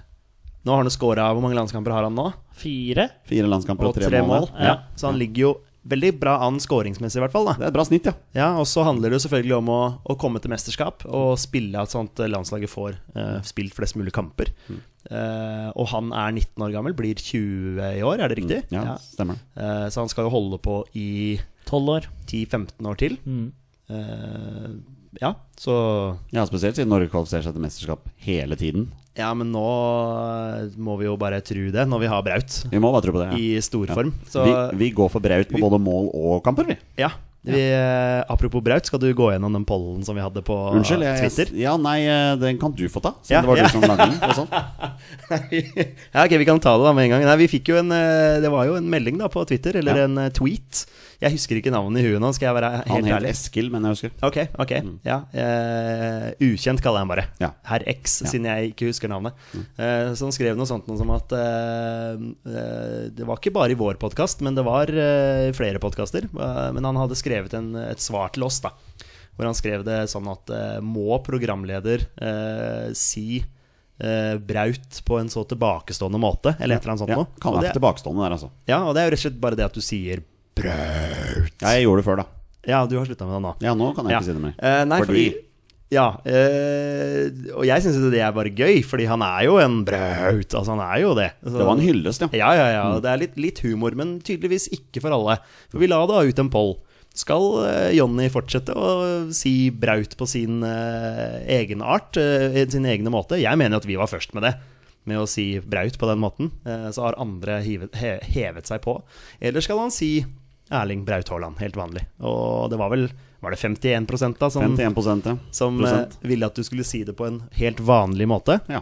S3: Nå har han scora Hvor mange landskamper har han nå?
S1: Fire.
S2: fire landskamper og
S3: Og
S2: tre, mål. der.
S3: Ja. Så han ligger jo veldig bra an skåringsmessig, i hvert fall. da
S2: Det er et bra snitt, ja.
S3: Ja, Og så handler det jo selvfølgelig om å, å komme til mesterskap og spille at sånt landslaget får eh, spilt flest mulig kamper.
S2: Mm.
S3: Eh, og han er 19 år gammel, blir 20 i år, er det riktig?
S2: Mm, Ja, stemmer det.
S3: Eh, så han skal jo holde på i
S1: Tolv år.
S3: 10-15 år til. Eh, ja, så
S2: Ja, Spesielt siden Norge kvalifiserer seg til mesterskap hele tiden.
S3: Ja, men nå eh, må vi jo bare tro det, når vi har Braut
S2: Vi må bare tro på det. Ja.
S3: i storform. Så
S2: Vi, vi går for Braut på både mål og kamper, vi.
S3: ja. Vi, eh, apropos Braut, skal du gå gjennom den pollen som vi hadde på
S2: Unnskyld.
S3: eh,
S2: Jeg, jeg,
S3: Twitter?
S2: ja, nei, eh, den kan du få ta. Siden
S3: Ja,
S2: det var
S3: ja.
S2: du som lagde den. og sånn. sånt.
S3: ja, ok, vi kan ta det da med en gang. Nei, vi fikk jo en eh, Det var jo en melding da på Twitter,
S2: Ja.
S3: eller en eh, tweet. Jeg husker ikke navnet i huet nå, skal jeg være
S2: Han
S3: helt
S2: het
S3: ærlig.
S2: Eskil, men jeg husker.
S3: Ok, ok, ja eh, Ukjent kaller jeg han bare.
S2: Mm. Ja. Mm.
S3: Herr X, siden jeg ikke husker navnet. Eh, så han skrev noe sånt noe som at eh, eh, Det var ikke bare i vår podkast, men det var eh, flere podkaster. Eh, men han hadde skrevet en, et svar til oss, da. Hvor han skrev det sånn at eh, Må programleder eh, si eh, Braut på en så tilbakestående måte? Eller et eller annet sånt
S2: Ja,
S3: noe.
S2: kan
S3: Og
S2: være
S3: det-
S2: tilbakestående der, altså.
S3: ja, og det er jo rett og slett bare det at du sier
S2: Ja, jeg gjorde det før, da.
S3: Ja, du har slutta med det nå.
S2: Ja, nå kan jeg
S3: Ja.
S2: ikke si det mer.
S3: Eh, nei, fordi,
S2: Fordi-
S3: Ja, eh, og jeg syns jo det er bare gøy, fordi han er jo en braut. Altså, han er jo det. Så-
S2: Det var en hyllest, ja.
S3: Ja, ja, ja. og Det er litt, litt humor, men tydeligvis ikke for alle. For vi la da ut en poll. Skal eh, Jonny fortsette å si braut på sin uh, egenart? Uh, sin egne måte? Jeg mener at vi var først med det. Med å si braut på den måten. Eh, så har andre hivet, he, hevet seg på. Eller skal han si Erling Braut Haaland, helt vanlig. Og det var vel Var det 51 da som,
S2: 51 ja.
S3: som eh,
S2: Prosent.
S3: ville at du skulle si det på en helt vanlig måte?
S2: ja.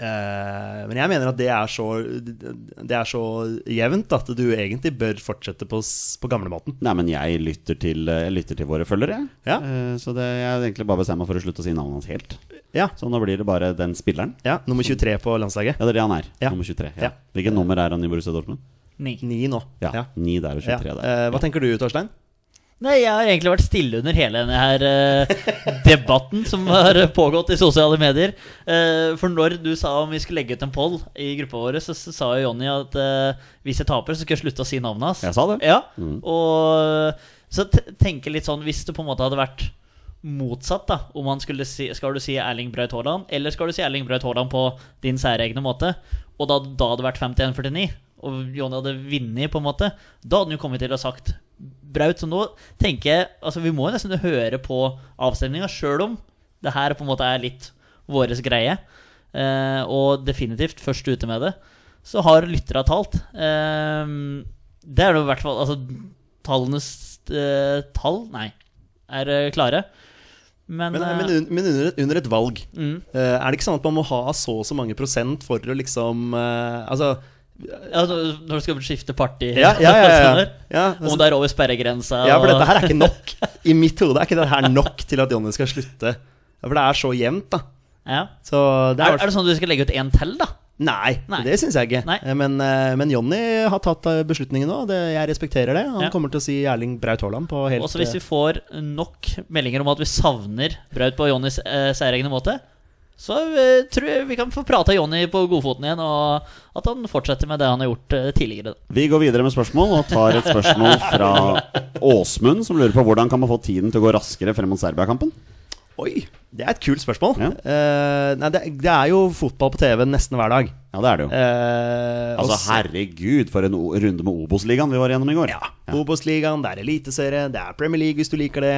S3: Eh, men jeg mener at det er så Det er så jevnt at du egentlig bør fortsette på, s- på gamlemåten.
S2: Nei, men jeg lytter til, eh, jeg lytter til våre følgere. jeg.
S3: Ja.
S2: Eh, Så det, jeg har egentlig bare bestemt meg for å slutte å si navnet hans helt.
S3: Ja.
S2: Så nå blir det bare den spilleren.
S3: ja. Nummer 23 på landslaget.
S2: Ja, det er det han er.
S3: Ja.
S2: Nummer 23. Ja.
S3: Ja.
S2: Hvilket nummer er han i Borussia Dortmund?
S1: Ni.
S3: Ni nå.
S2: Ja,
S3: Ja.
S2: 9 der og
S3: Ja.
S2: 23 der.
S3: Eh, hva tenker du, Torstein?
S1: Nei, jeg har egentlig vært stille under hele denne her eh, debatten som har pågått i sosiale medier. Eh, for når du sa om vi skulle legge ut en poll i gruppa vår, så, så sa jo Jonny at eh, hvis jeg taper, så skal jeg slutte å si navnet hans.
S2: Jeg sa det.
S1: Ja, og så t tenker litt sånn Hvis det på en måte hadde vært motsatt, da om han skulle si, Skal du si Erling Braut Haaland, eller skal du si Erling Braut Haaland på din særegne måte? Og da, da hadde det vært 51-49, og Johnny hadde vunnet, på en måte, da hadde han jo kommet til og sagt Braut. Så nå tenker jeg Altså, vi må jo nesten høre på avstemninga, sjøl om det her på en måte er litt våres greie. Eh, og definitivt først ute med det. Så har lyttere talt. Eh, det er det i hvert fall Altså, tallenes eh, tall, nei, er eh, klare. Men,
S3: Men,
S1: eh,
S3: men, un- men under, et, under et valg,
S1: mm.
S3: eh, er det ikke sånn at man må ha så og så mange prosent for å liksom eh, Altså
S1: Ja, når når du skal skifte parti
S3: Ja, ja, ja. ja, ja
S1: Om
S3: altså,
S1: det er over sperregrensa
S3: ja for dette
S1: og-
S3: her er ikke nok. I mitt hode er ikke dette her nok til at Jonny skal slutte. Ja, For det er så jevnt, da.
S1: ja.
S3: Så det
S1: er,
S3: er,
S1: er det sånn at du skal legge ut én til, da?
S3: Nei,
S1: Nei.
S3: det syns jeg ikke.
S1: Nei.
S3: Eh, Men, eh, men Jonny har tatt eh, beslutningen nå. Det, jeg respekterer det. Han
S1: Ja.
S3: kommer til å si Erling Braut Haaland på helt eh,
S1: Også hvis vi får nok meldinger om at vi savner Braut på Johnnys eh, særegne måte, så eh, tror jeg vi kan få prata Jonny på godfoten igjen, og at han fortsetter med det han har gjort eh, tidligere.
S2: Vi går videre med spørsmål, og tar et spørsmål fra Åsmund, som lurer på hvordan kan man få tiden til å gå raskere frem mot Serbia-kampen?
S3: eh, Oi! Det er et kult spørsmål.
S2: Ja.
S3: Eh, nei, det, det er jo fotball på TV nesten hver dag.
S2: Ja, det er det jo.
S3: Eh,
S2: Altså,
S3: og så-
S2: herregud, for en o- runde med Obos-ligaen vi var gjennom i går.
S3: Ja. Obos-ligaen, det er Eliteserie, det er Premier League hvis du liker det.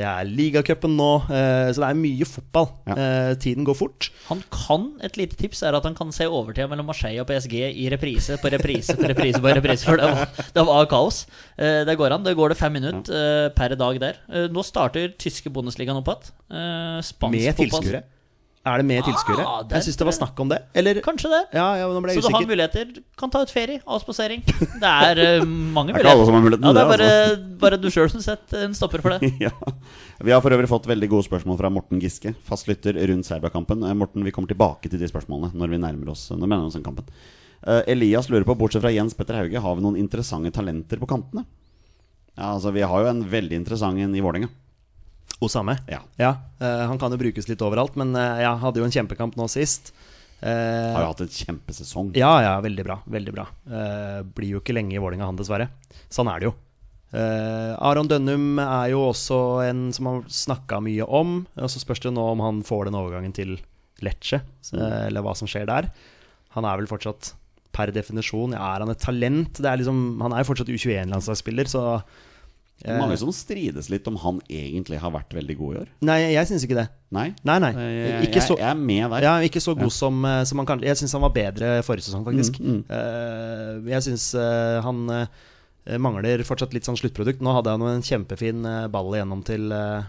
S3: Det er ligacupen nå. eh, så det er mye fotball.
S2: Ja.
S3: Eh, tiden går fort.
S1: Han kan, Et lite tips er at han kan se overtida mellom Marseille og PSG i reprise på reprise på reprise. på reprise For det var, det var kaos. Eh, Det går an. Det går det fem minutter eh, per dag der. Eh, Nå starter tyske Bundesligaen opp igjen. Eh, Spansk
S3: Med
S1: fotball-
S3: tilskuere. Er det med tilskuere?
S1: Ah, der-
S3: jeg syns det var snakk om det. Eller
S1: Kanskje det.
S3: Ja, ja, nå ble
S1: Så
S3: jeg
S1: du har
S3: usikker.
S1: muligheter. Kan ta ut ferie. Avspasering. Det er eh, mange
S2: Det er ikke alle som
S1: muligheter.
S2: har muligheten
S1: Ja, det er
S2: til det, altså.
S1: bare, bare du sjøl som setter en stopper for det.
S2: ja. Vi har for øvrig fått veldig gode spørsmål fra Morten Giske, fastlytter rundt Serbia-kampen. Eh, Morten, vi kommer tilbake til de spørsmålene når vi nærmer oss, når vi nærmer oss den kampen. Eh, Elias lurer på, bortsett fra Jens Petter Hauge, har vi noen interessante talenter på kantene? Ja, altså, vi har jo en veldig interessant en i Vålerenga.
S3: Osame.
S2: Ja.
S3: Ja, eh, han kan jo brukes litt overalt, men eh, ja, hadde jo en kjempekamp nå sist. Eh,
S2: Har jo hatt en kjempesesong.
S3: Ja, ja, veldig bra. Veldig bra. Eh, blir jo ikke lenge i Vålinga han, dessverre. Sånn er det jo. Eh, Aron Dønnum er jo også en som har snakka mye om. Og så spørs det nå om han får den overgangen til Lecce,
S2: Mm.
S3: så- eller hva som skjer der. Han er vel fortsatt per definisjon ja, Er han et talent? Det er liksom, han er jo fortsatt U21-landslagsspiller, så
S2: Mange som strides litt om han egentlig har vært veldig god i år.
S3: Nei, jeg syns ikke det.
S2: Nei?
S3: Nei, nei.
S2: Eh,
S3: Ikke
S2: Jeg,
S3: så
S2: jeg er med der.
S3: Ja, Mm, ikke så god som, eh, som han kanskje Jeg syns han var bedre forrige sesong, faktisk. Eh, jeg syns eh, han eh, mangler fortsatt litt sånn sluttprodukt. Nå hadde han jo en kjempefin eh, ball igjennom til eh,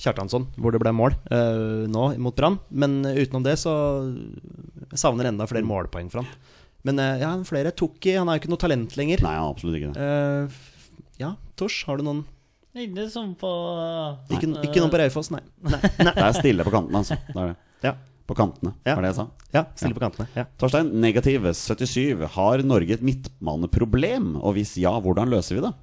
S3: Kjartansson, hvor det ble mål eh, nå mot Brann. Men eh, utenom det så jeg savner enda flere målpoeng for han. Men eh, ja, flere tok i. Han er jo ikke noe talent lenger.
S2: Nei, absolutt ikke det.
S3: Eh, f- ja, Tors, har du noen?
S1: Ikke som på
S3: Ikke, ikke noen på Raufoss, nei. eh, nei.
S2: Det er stille på kantene, altså. Det er det.
S3: Ja,
S2: På kantene,
S3: Ja.
S2: var det jeg sa.
S3: ja stille på kantene. Ja.
S2: Torstein, negativ 77. Har Norge et midtbaneproblem? Og hvis ja, hvordan løser vi det?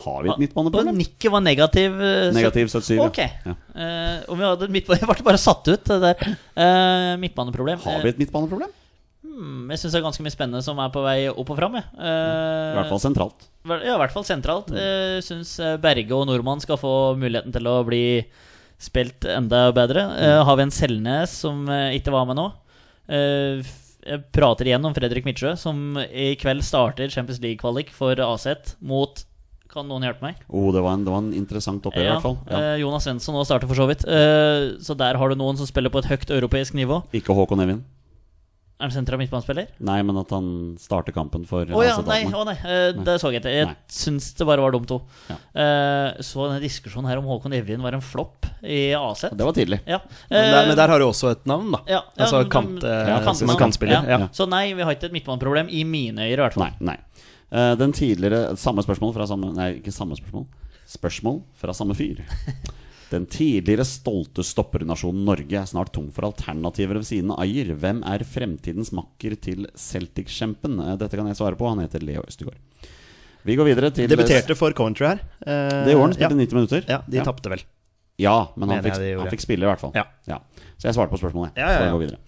S2: Har vi et
S1: Og
S2: midtbaneproblem?
S1: nikket var negativ. eh,
S2: Negativ 77. ja.
S1: Ah, Ok.
S2: Ja.
S1: Eh, om vi hadde et midtbane Jeg ble bare satt ut, det der. Eh, midtbaneproblem.
S2: Har vi et midtbaneproblem?
S1: Hmm, jeg syns det er ganske mye spennende som er på vei opp og fram. Jeg.
S2: I
S1: Eh,
S2: hvert fall sentralt.
S1: vel- ja, I hvert fall sentralt.
S2: Mm.
S1: Jeg syns eh, Berge og Nordmann skal få muligheten til å bli spilt enda bedre.
S2: Mm.
S1: Eh, har vi en Selnes som eh, ikke var med nå? Eh, f- jeg prater igjen om Fredrik Midtsjø, som i kveld starter Champions League-kvalik for AZ mot Kan noen hjelpe meg?
S2: Oh, det var en, det var en interessant oppgjør, i hvert fall. Ja.
S1: eh, Jonas Svensson nå starter for så vidt. Eh, så der har du noen som spiller på et høyt europeisk nivå.
S2: Ikke Håkon Evin.
S1: Er han sentra midtbanespiller?
S2: Nei, men at han starter kampen for
S1: Å ja, nei,
S2: Asetatene.
S1: å nei, eh, det så jeg ikke. Jeg
S2: Nei.
S1: syns det bare var dumt òg.
S2: Ja.
S1: så denne diskusjonen her om Håkon Evjen var en flopp i AZ.
S2: Det var tidlig.
S1: Ja.
S3: Men der, men
S1: Eh,
S3: der har du også et navn, da.
S1: ja, ja,
S3: altså
S1: men-
S3: kant, eh,
S1: Ja,
S2: kantmann.
S3: som en kantspiller.
S1: Ja.
S3: Ja.
S1: Så nei, vi har ikke et midtbaneproblem i mine øyne, i hvert fall.
S2: Nei, nei. Eh, Den tidligere Samme spørsmål fra samme Nei, ikke samme spørsmål. Spørsmål fra samme fyr. Den tidligere stolte stoppernasjonen Norge er snart tom for alternativer ved siden av Ajer. Hvem er fremtidens makker til Celtic-kjempen? Eh, Dette kan jeg svare på. Han heter Leo Østegård. Vi går videre til
S3: Debuterte for Coventry her. Eh,
S2: Det gjorde han. Spilte
S3: ja.
S2: 90 minutter.
S3: ja, de tapte vel.
S2: Ja, men han
S3: Mener jeg
S2: fikk,
S3: de gjorde.
S2: han fikk spille i hvert fall.
S3: Ja.
S2: Så jeg svarte på spørsmålet.
S3: Ja, ja,
S2: Så jeg
S3: ja.
S2: går videre.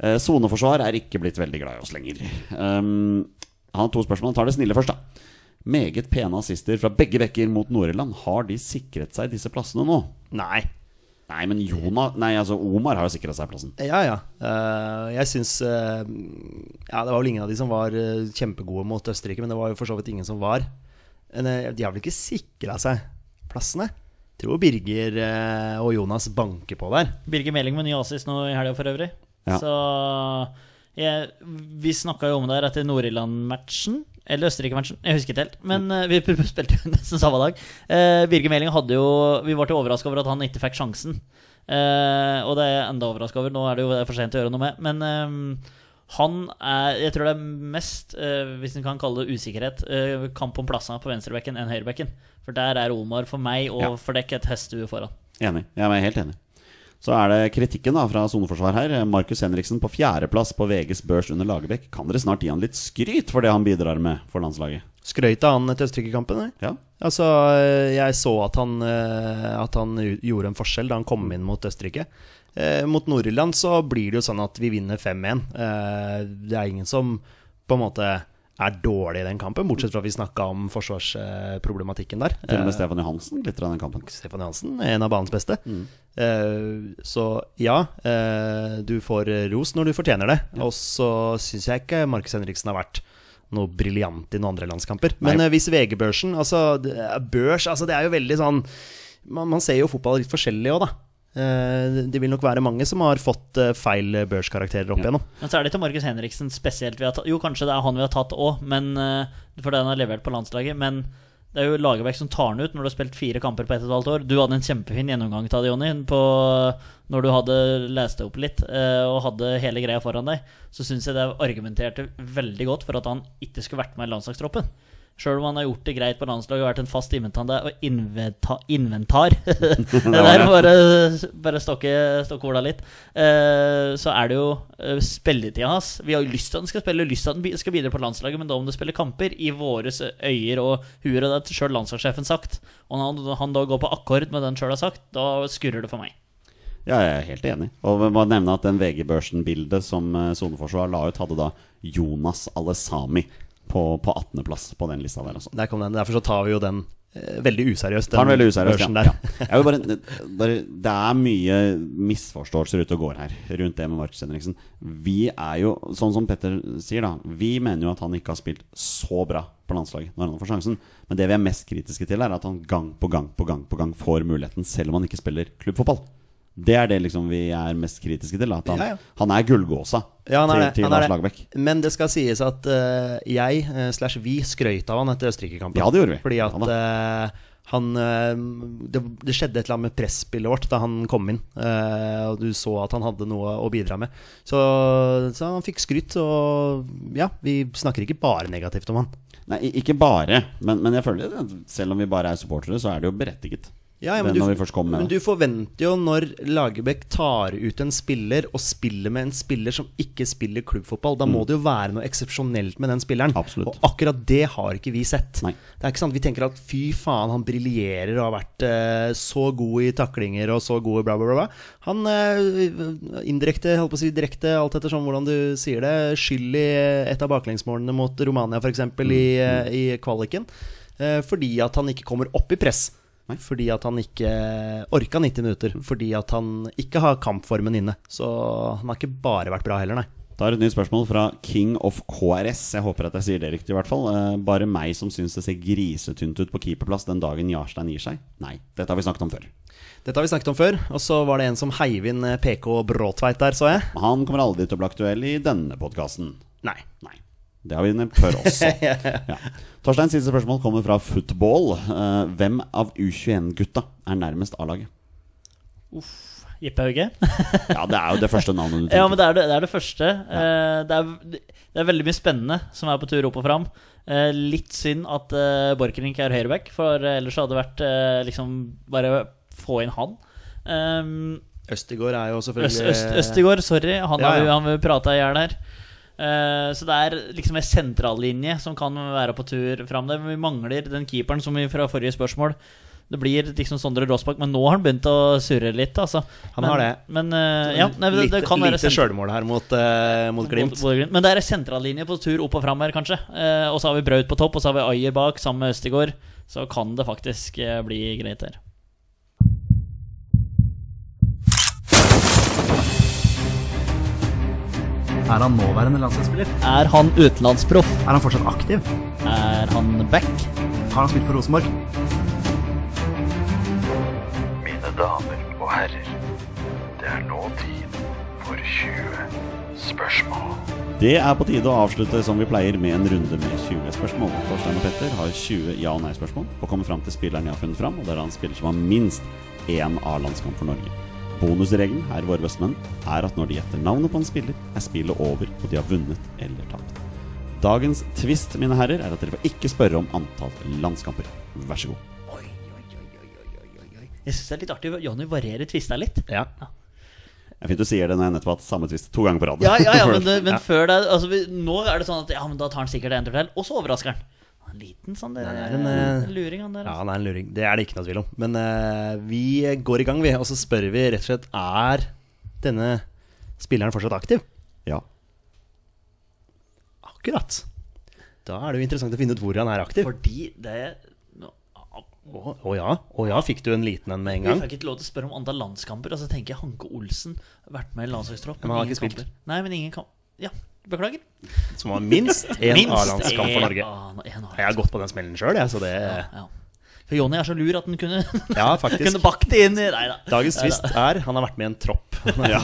S2: Eh, Soneforsvar er ikke blitt veldig glad i oss lenger. Um, han har to spørsmål. Han tar det snille først, da. Meget pene assister fra begge bekker mot Nord-Irland. Har de sikret seg disse plassene nå?
S3: Nei.
S2: Nei, men Jona, nei, altså Omar har jo sikra seg plassen.
S3: Ja, ja. Eh, jeg syns eh, Ja, det var vel ingen av de som var eh, kjempegode mot Østerrike, men det var jo for så vidt ingen som var. Men, eh, de har vel ikke sikra seg plassene? Tror Birger eh, og Jonas banker på der.
S1: Birger Meling med ny assist nå i helga for øvrig.
S2: Ja.
S1: Så jeg, Vi snakka jo om det her etter Nord-Irland-matchen. Eller Østerrike-matchen, jeg husker ikke helt. Men eh, vi p- p- spilte jo nesten samme dag. Eh, Birger Meling hadde jo Vi var til overraska over at han ikke fikk sjansen. Eh, og det er jeg enda overraska over. Nå er det jo for sent å gjøre noe med. Men eh, han er Jeg tror det er mest, eh, hvis en kan kalle det usikkerhet, eh, kamp om plassene på venstrebekken enn høyrebekken. For der er Omar for meg og
S2: Ja.
S1: for dekk et hestehue foran.
S2: Enig. Jeg er helt enig. Så er det kritikken da fra soneforsvar her. Markus Henriksen på fjerdeplass på VGs børs under Lagerbäck. Kan dere snart gi han litt skryt for det han bidrar med for landslaget?
S3: Skrøt av han etter Østerrike-kampen? eller?
S2: Ja,
S3: Altså, jeg så at han, eh, at han u- gjorde en forskjell da han kom inn mot Østerrike. Eh, Mot Nord-Irland så blir det jo sånn at vi vinner 5-1. Eh, Det er ingen som på en måte er dårlig i den kampen, bortsett fra at vi snakka om forsvarsproblematikken der.
S2: Til og med
S3: Eh,
S2: Stefan Johansen glitrer i den kampen.
S3: Stefan Johansen, en av banens beste.
S2: Mm.
S3: Eh, så ja, eh, du får ros når du fortjener det. Og så syns jeg ikke Markus Henriksen har vært noe briljant i noen andre landskamper. Men
S2: Nei.
S3: eh, hvis VG-børsen altså, det er Børs altså, Det er jo veldig sånn Man, man ser jo fotball litt forskjellig òg, da. Eh, det vil nok være mange som har fått eh, feil børskarakterer opp
S2: Ja.
S3: igjennom.
S1: Men så er det ikke Markus Henriksen spesielt vi har tatt. Jo, kanskje det er han vi har tatt òg, for det han har levert på landslaget. Men det er jo Lagerbäck som tar han ut når du har spilt fire kamper på ett og et halvt år. Du hadde en kjempefin gjennomgang av det, Jonny, på, når du hadde lest det opp litt eh, og hadde hele greia foran deg. Så syns jeg det argumenterte veldig godt for at han ikke skulle vært med i landslagstroppen. Sjøl om han har gjort det greit på landslaget og vært en fast inventar der, og inventa, Inventar! det der bare, bare stokke, stokke orda litt. Eh, så er det jo eh, spilletida hans. Vi har jo lyst til at han skal spille, lyst til at han bi- skal bidra på landslaget, men da om du spiller kamper i våre øyer og huer, og det har sjøl landslagssjefen sagt, og når han, han da går på akkord med den sjøl har sagt, da skurrer det for meg.
S2: Ja, jeg er helt enig. Og vi må nevne at den VG-børsen-bildet som eh, soneforsvar la ut, hadde da Jonas Alesami på, på 18.-plass på den lista der, altså.
S3: Der kom den. Derfor så tar vi jo den eh, veldig useriøst.
S2: Tar den veldig useriøst,
S3: børsen
S2: ja.
S3: der.
S2: ja. Jeg vil bare, bare, det er mye misforståelser ute og går her rundt det med Markus Henriksen. Vi er jo, sånn som Petter sier, da Vi mener jo at han ikke har spilt så bra på landslaget når han får sjansen. Men det vi er mest kritiske til, er at han gang på gang på gang på gang får muligheten, selv om han ikke spiller klubbfotball. Det er det liksom vi er mest kritiske til. da, At han,
S3: Ja, ja.
S2: han er gullgåsa
S3: Ja, han er
S2: til,
S3: det.
S2: til
S3: Han er
S2: Lars
S3: det.
S2: Lagerbäck.
S3: Men det skal sies at eh, jeg, eh, slash vi, skrøyt av han etter Østerrike-kampen.
S2: Ja, det gjorde vi.
S3: Fordi at
S2: Ja,
S3: eh, han eh, det, det skjedde et eller annet med presspillet vårt da han kom inn. eh, og du så at han hadde noe å bidra med. Så, så han fikk skryt, og ja, vi snakker ikke bare negativt om han.
S2: Nei, i- ikke bare, men, men jeg føler at selv om vi bare er supportere, så er det jo berettiget.
S3: Ja, ja,
S2: Det
S3: men,
S2: er når vi først
S3: du,
S2: kommer med
S3: men
S2: det.
S3: du forventer jo når Lagerbäck tar ut en spiller og spiller med en spiller som ikke spiller klubbfotball, da må det jo være noe eksepsjonelt med den spilleren.
S2: Mm. Absolutt.
S3: Og akkurat det har ikke vi sett.
S2: Nei.
S3: Det er ikke sant, Vi tenker at fy faen, han briljerer og har vært eh, så god i taklinger og så god i bla, bla, bla. bla. Han eh, indirekte, holdt på å si direkte, alt etter sånn hvordan du sier det, skyld i et av baklengsmålene mot Romania f.eks. eksempel i, eh, i kvaliken. Eh, fordi at han ikke kommer opp i press. Fordi at han ikke orka 90 minutter. Fordi at han ikke har kampformen inne. Så han har ikke bare vært bra heller, nei.
S2: Da er det et nytt spørsmål fra King of KRS. Jeg håper at jeg sier det riktig, i hvert fall. Eh, Bare meg som syns det ser grisetynt ut på keeperplass den dagen Jarstein gir seg. Nei, dette har vi snakket om før.
S3: Dette har vi snakket om før, og så var det en som heiv inn eh, PK Bråtveit der, så jeg.
S2: Men Han kommer aldri til å bli aktuell i denne podkasten.
S3: Nei.
S2: Nei. Det har vi nevnt før også. Ja. Torsteins siste spørsmål kommer fra Football. Eh, Hvem av U21-gutta er nærmest A-laget?
S1: Jeppe Hauge?
S2: Ja, det er jo det første navnet du tenker.
S1: Ja, men det er det, det, er det første. Eh, det, er, det er veldig mye spennende som er på tur opp og fram. Eh, litt synd at uh, Borchgrevink er høyreback, for eh, ellers hadde det vært eh, liksom bare få inn han. Um,
S3: Østigård er jo
S1: Øst,
S3: selvfølgelig
S1: Øst, Østegård, sorry. Han
S3: eh, Ja,
S1: har
S3: ja.
S1: jo- han har jo prata i hjel her. Eh, så det er liksom en sentrallinje som kan være på tur fram der. Men vi mangler den keeperen som vi fra forrige spørsmål. Det blir liksom Sondre Råsbakk, men nå har han begynt å surre litt, altså.
S3: Han
S1: men,
S3: har det.
S1: Men eh, ja, nei, det, det
S3: lite-
S1: kan være
S3: lite
S1: sent-
S3: sjølmål her mot, eh, mot Glimt.
S1: Bodø- Bodø-Glimt. Men det er en sentrallinje på tur opp og fram her, kanskje. Eh, og så har vi Braut på topp, og så har vi Ayer bak, sammen med Østegård. Så kan det faktisk eh, bli greit her.
S3: Er han nåværende landslagsspiller?
S1: Er han utenlandsproff?
S3: Er han fortsatt aktiv?
S1: Er han back?
S3: Har han spilt for Rosenborg?
S5: Mine damer og herrer, det er nå tid for 20 spørsmål.
S2: Det er på tide å avslutte som vi pleier med en runde med 20 spørsmål. Torstein og Petter har 20 ja- og nei-spørsmål og kommer fram til spilleren jeg har funnet fram, og det er han spiller som har minst én A-landskamp for Norge. Bonusregelen her i Våre bestemenn er at når de gjetter navnet på en spiller, er spillet over, og de har vunnet eller tapt. Dagens twist, mine herrer, er at dere får ikke spørre om antall landskamper. Vær så god.
S1: Jeg syns det er litt artig. Jonny varierer tvista litt.
S3: Ja.
S2: Det er fint du sier det når jeg nettopp har hatt samme twist to ganger på rad.
S1: Ja, ja, ja,
S2: For-
S1: men, det, men før det altså, vi, Nå er det sånn at Ja, men da tar han sikkert en tur til, og så overrasker han. Han er En liten sånn der,
S3: det er en, eh,
S1: luring, han der.
S3: Ja,
S1: altså.
S3: han er en luring. Det er det ikke noe tvil om. Men eh, vi går i gang, vi. Og så spør vi rett og slett er denne spilleren fortsatt aktiv.
S2: ja.
S3: Akkurat. Da er det jo interessant å finne ut hvor han er aktiv. Å
S1: altså. Fordi det nå- ah,
S3: å ja, å ja, fikk du en liten en med en
S1: Vi
S3: gang?
S1: fikk ikke lov til å spørre om antall landskamper. Altså tenker jeg Hanke Olsen har vært med i landslagstropp.
S3: Men han har
S1: ingen
S3: ikke spilt.
S1: kamper. Nei, men ingen kamp... Ja, beklager.
S3: Som var minst én
S1: Minst en
S3: A-landskamp for Norge.
S1: A- en
S3: Jeg har
S1: A-landskamp.
S3: gått på den smellen sjøl, jeg, så det
S1: Ja. For Jonny er så lur at han kunne,
S3: Ja, faktisk.
S1: kunne bakt det inn i Nei da.
S3: Dagens
S1: Nei
S3: twist
S1: da.
S3: er han har vært med i en tropp.
S2: Ja.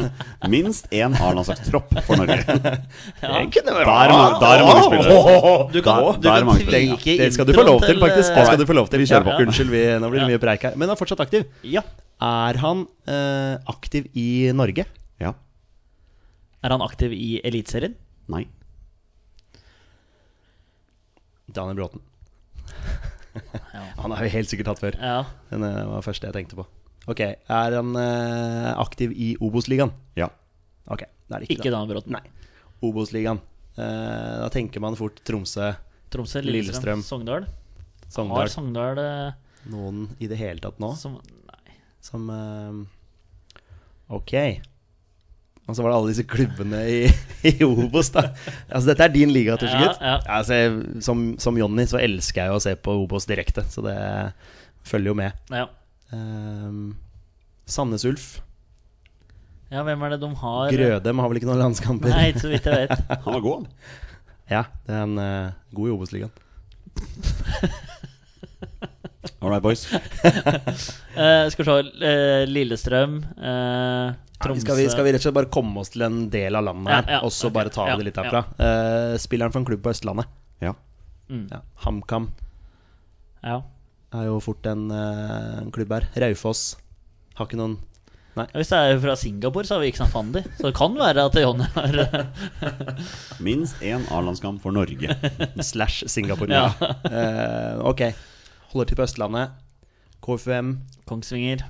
S2: Minst én har en slags tropp for Norge.
S3: Det kunne
S2: Der er ma- der er mange spillere.
S1: Du kan,
S2: Da- da er
S1: du
S2: det
S1: kan
S2: mange spillere.
S1: tvike
S3: Det skal du få lov til, faktisk. Det skal du få lov til. Vi
S2: kjører på.
S3: Unnskyld, vi, nå blir det
S1: eh, Ja.
S3: mye preik her. Men han er fortsatt aktiv.
S1: Ja.
S3: Er han eh, aktiv i Norge?
S2: Ja.
S1: Er han aktiv i Eliteserien?
S2: Nei.
S3: Daniel Bråten.
S1: Ja.
S3: Han har jo helt sikkert hatt før.
S1: ja.
S3: Den eh, var det første jeg tenkte på. Ok, Er han eh, aktiv i Obos-ligaen?
S2: Ja.
S3: Ok, det er det ikke.
S1: Ikke Daniel Bråten.
S3: Nei. Obos-ligaen. Eh, da tenker man fort Tromsø,
S1: Tromsø, Lillestrøm,
S3: Lillestrøm.
S1: Sogndal. Har
S3: Sogndal.
S1: Sogndal eh,
S3: Noen i det hele tatt nå
S1: som Nei.
S3: som eh, Ok. Og så var det alle disse klubbene i, i Obos, da. Altså, dette er din liga, Torsegutt.
S1: Ja, ja.
S3: Altså, jeg- som som Jonny så elsker jeg jo å se på Obos direkte, så det følger jo med.
S1: Ja.
S3: Eh, Sandnes Ulf.
S1: ja, hvem er det de har?
S3: Grødem har vel ikke noen landskamper?
S1: Nei, så vidt jeg vet.
S2: Han var god, han.
S3: Ja, det er en eh, god i Obos-ligaen.
S2: All right, boys.
S1: Eh, skal vi se eh, Lillestrøm, eh, Tromsø
S3: Skal vi, skal vi rett og slett bare komme oss til en del av landet
S1: Ja,
S3: her,
S1: ja,
S3: og så
S1: ok,
S3: bare ta
S1: ja,
S3: det litt herfra? Eh, spilleren for en klubb på Østlandet,
S2: Ja.
S1: Mm.
S3: ja. HamKam,
S1: Ja.
S3: er jo fort en, eh, en klubb her. Raufoss har ikke noen
S1: Ja, Hvis det er fra Singapore, så har vi ikke San Fandi. Så det kan være at Jonny har
S2: Minst én A-landskamp for Norge.
S3: slash Singapore.
S1: Ja.
S3: Eh, ok, holder til på Østlandet. KFUM.
S1: Kongsvinger.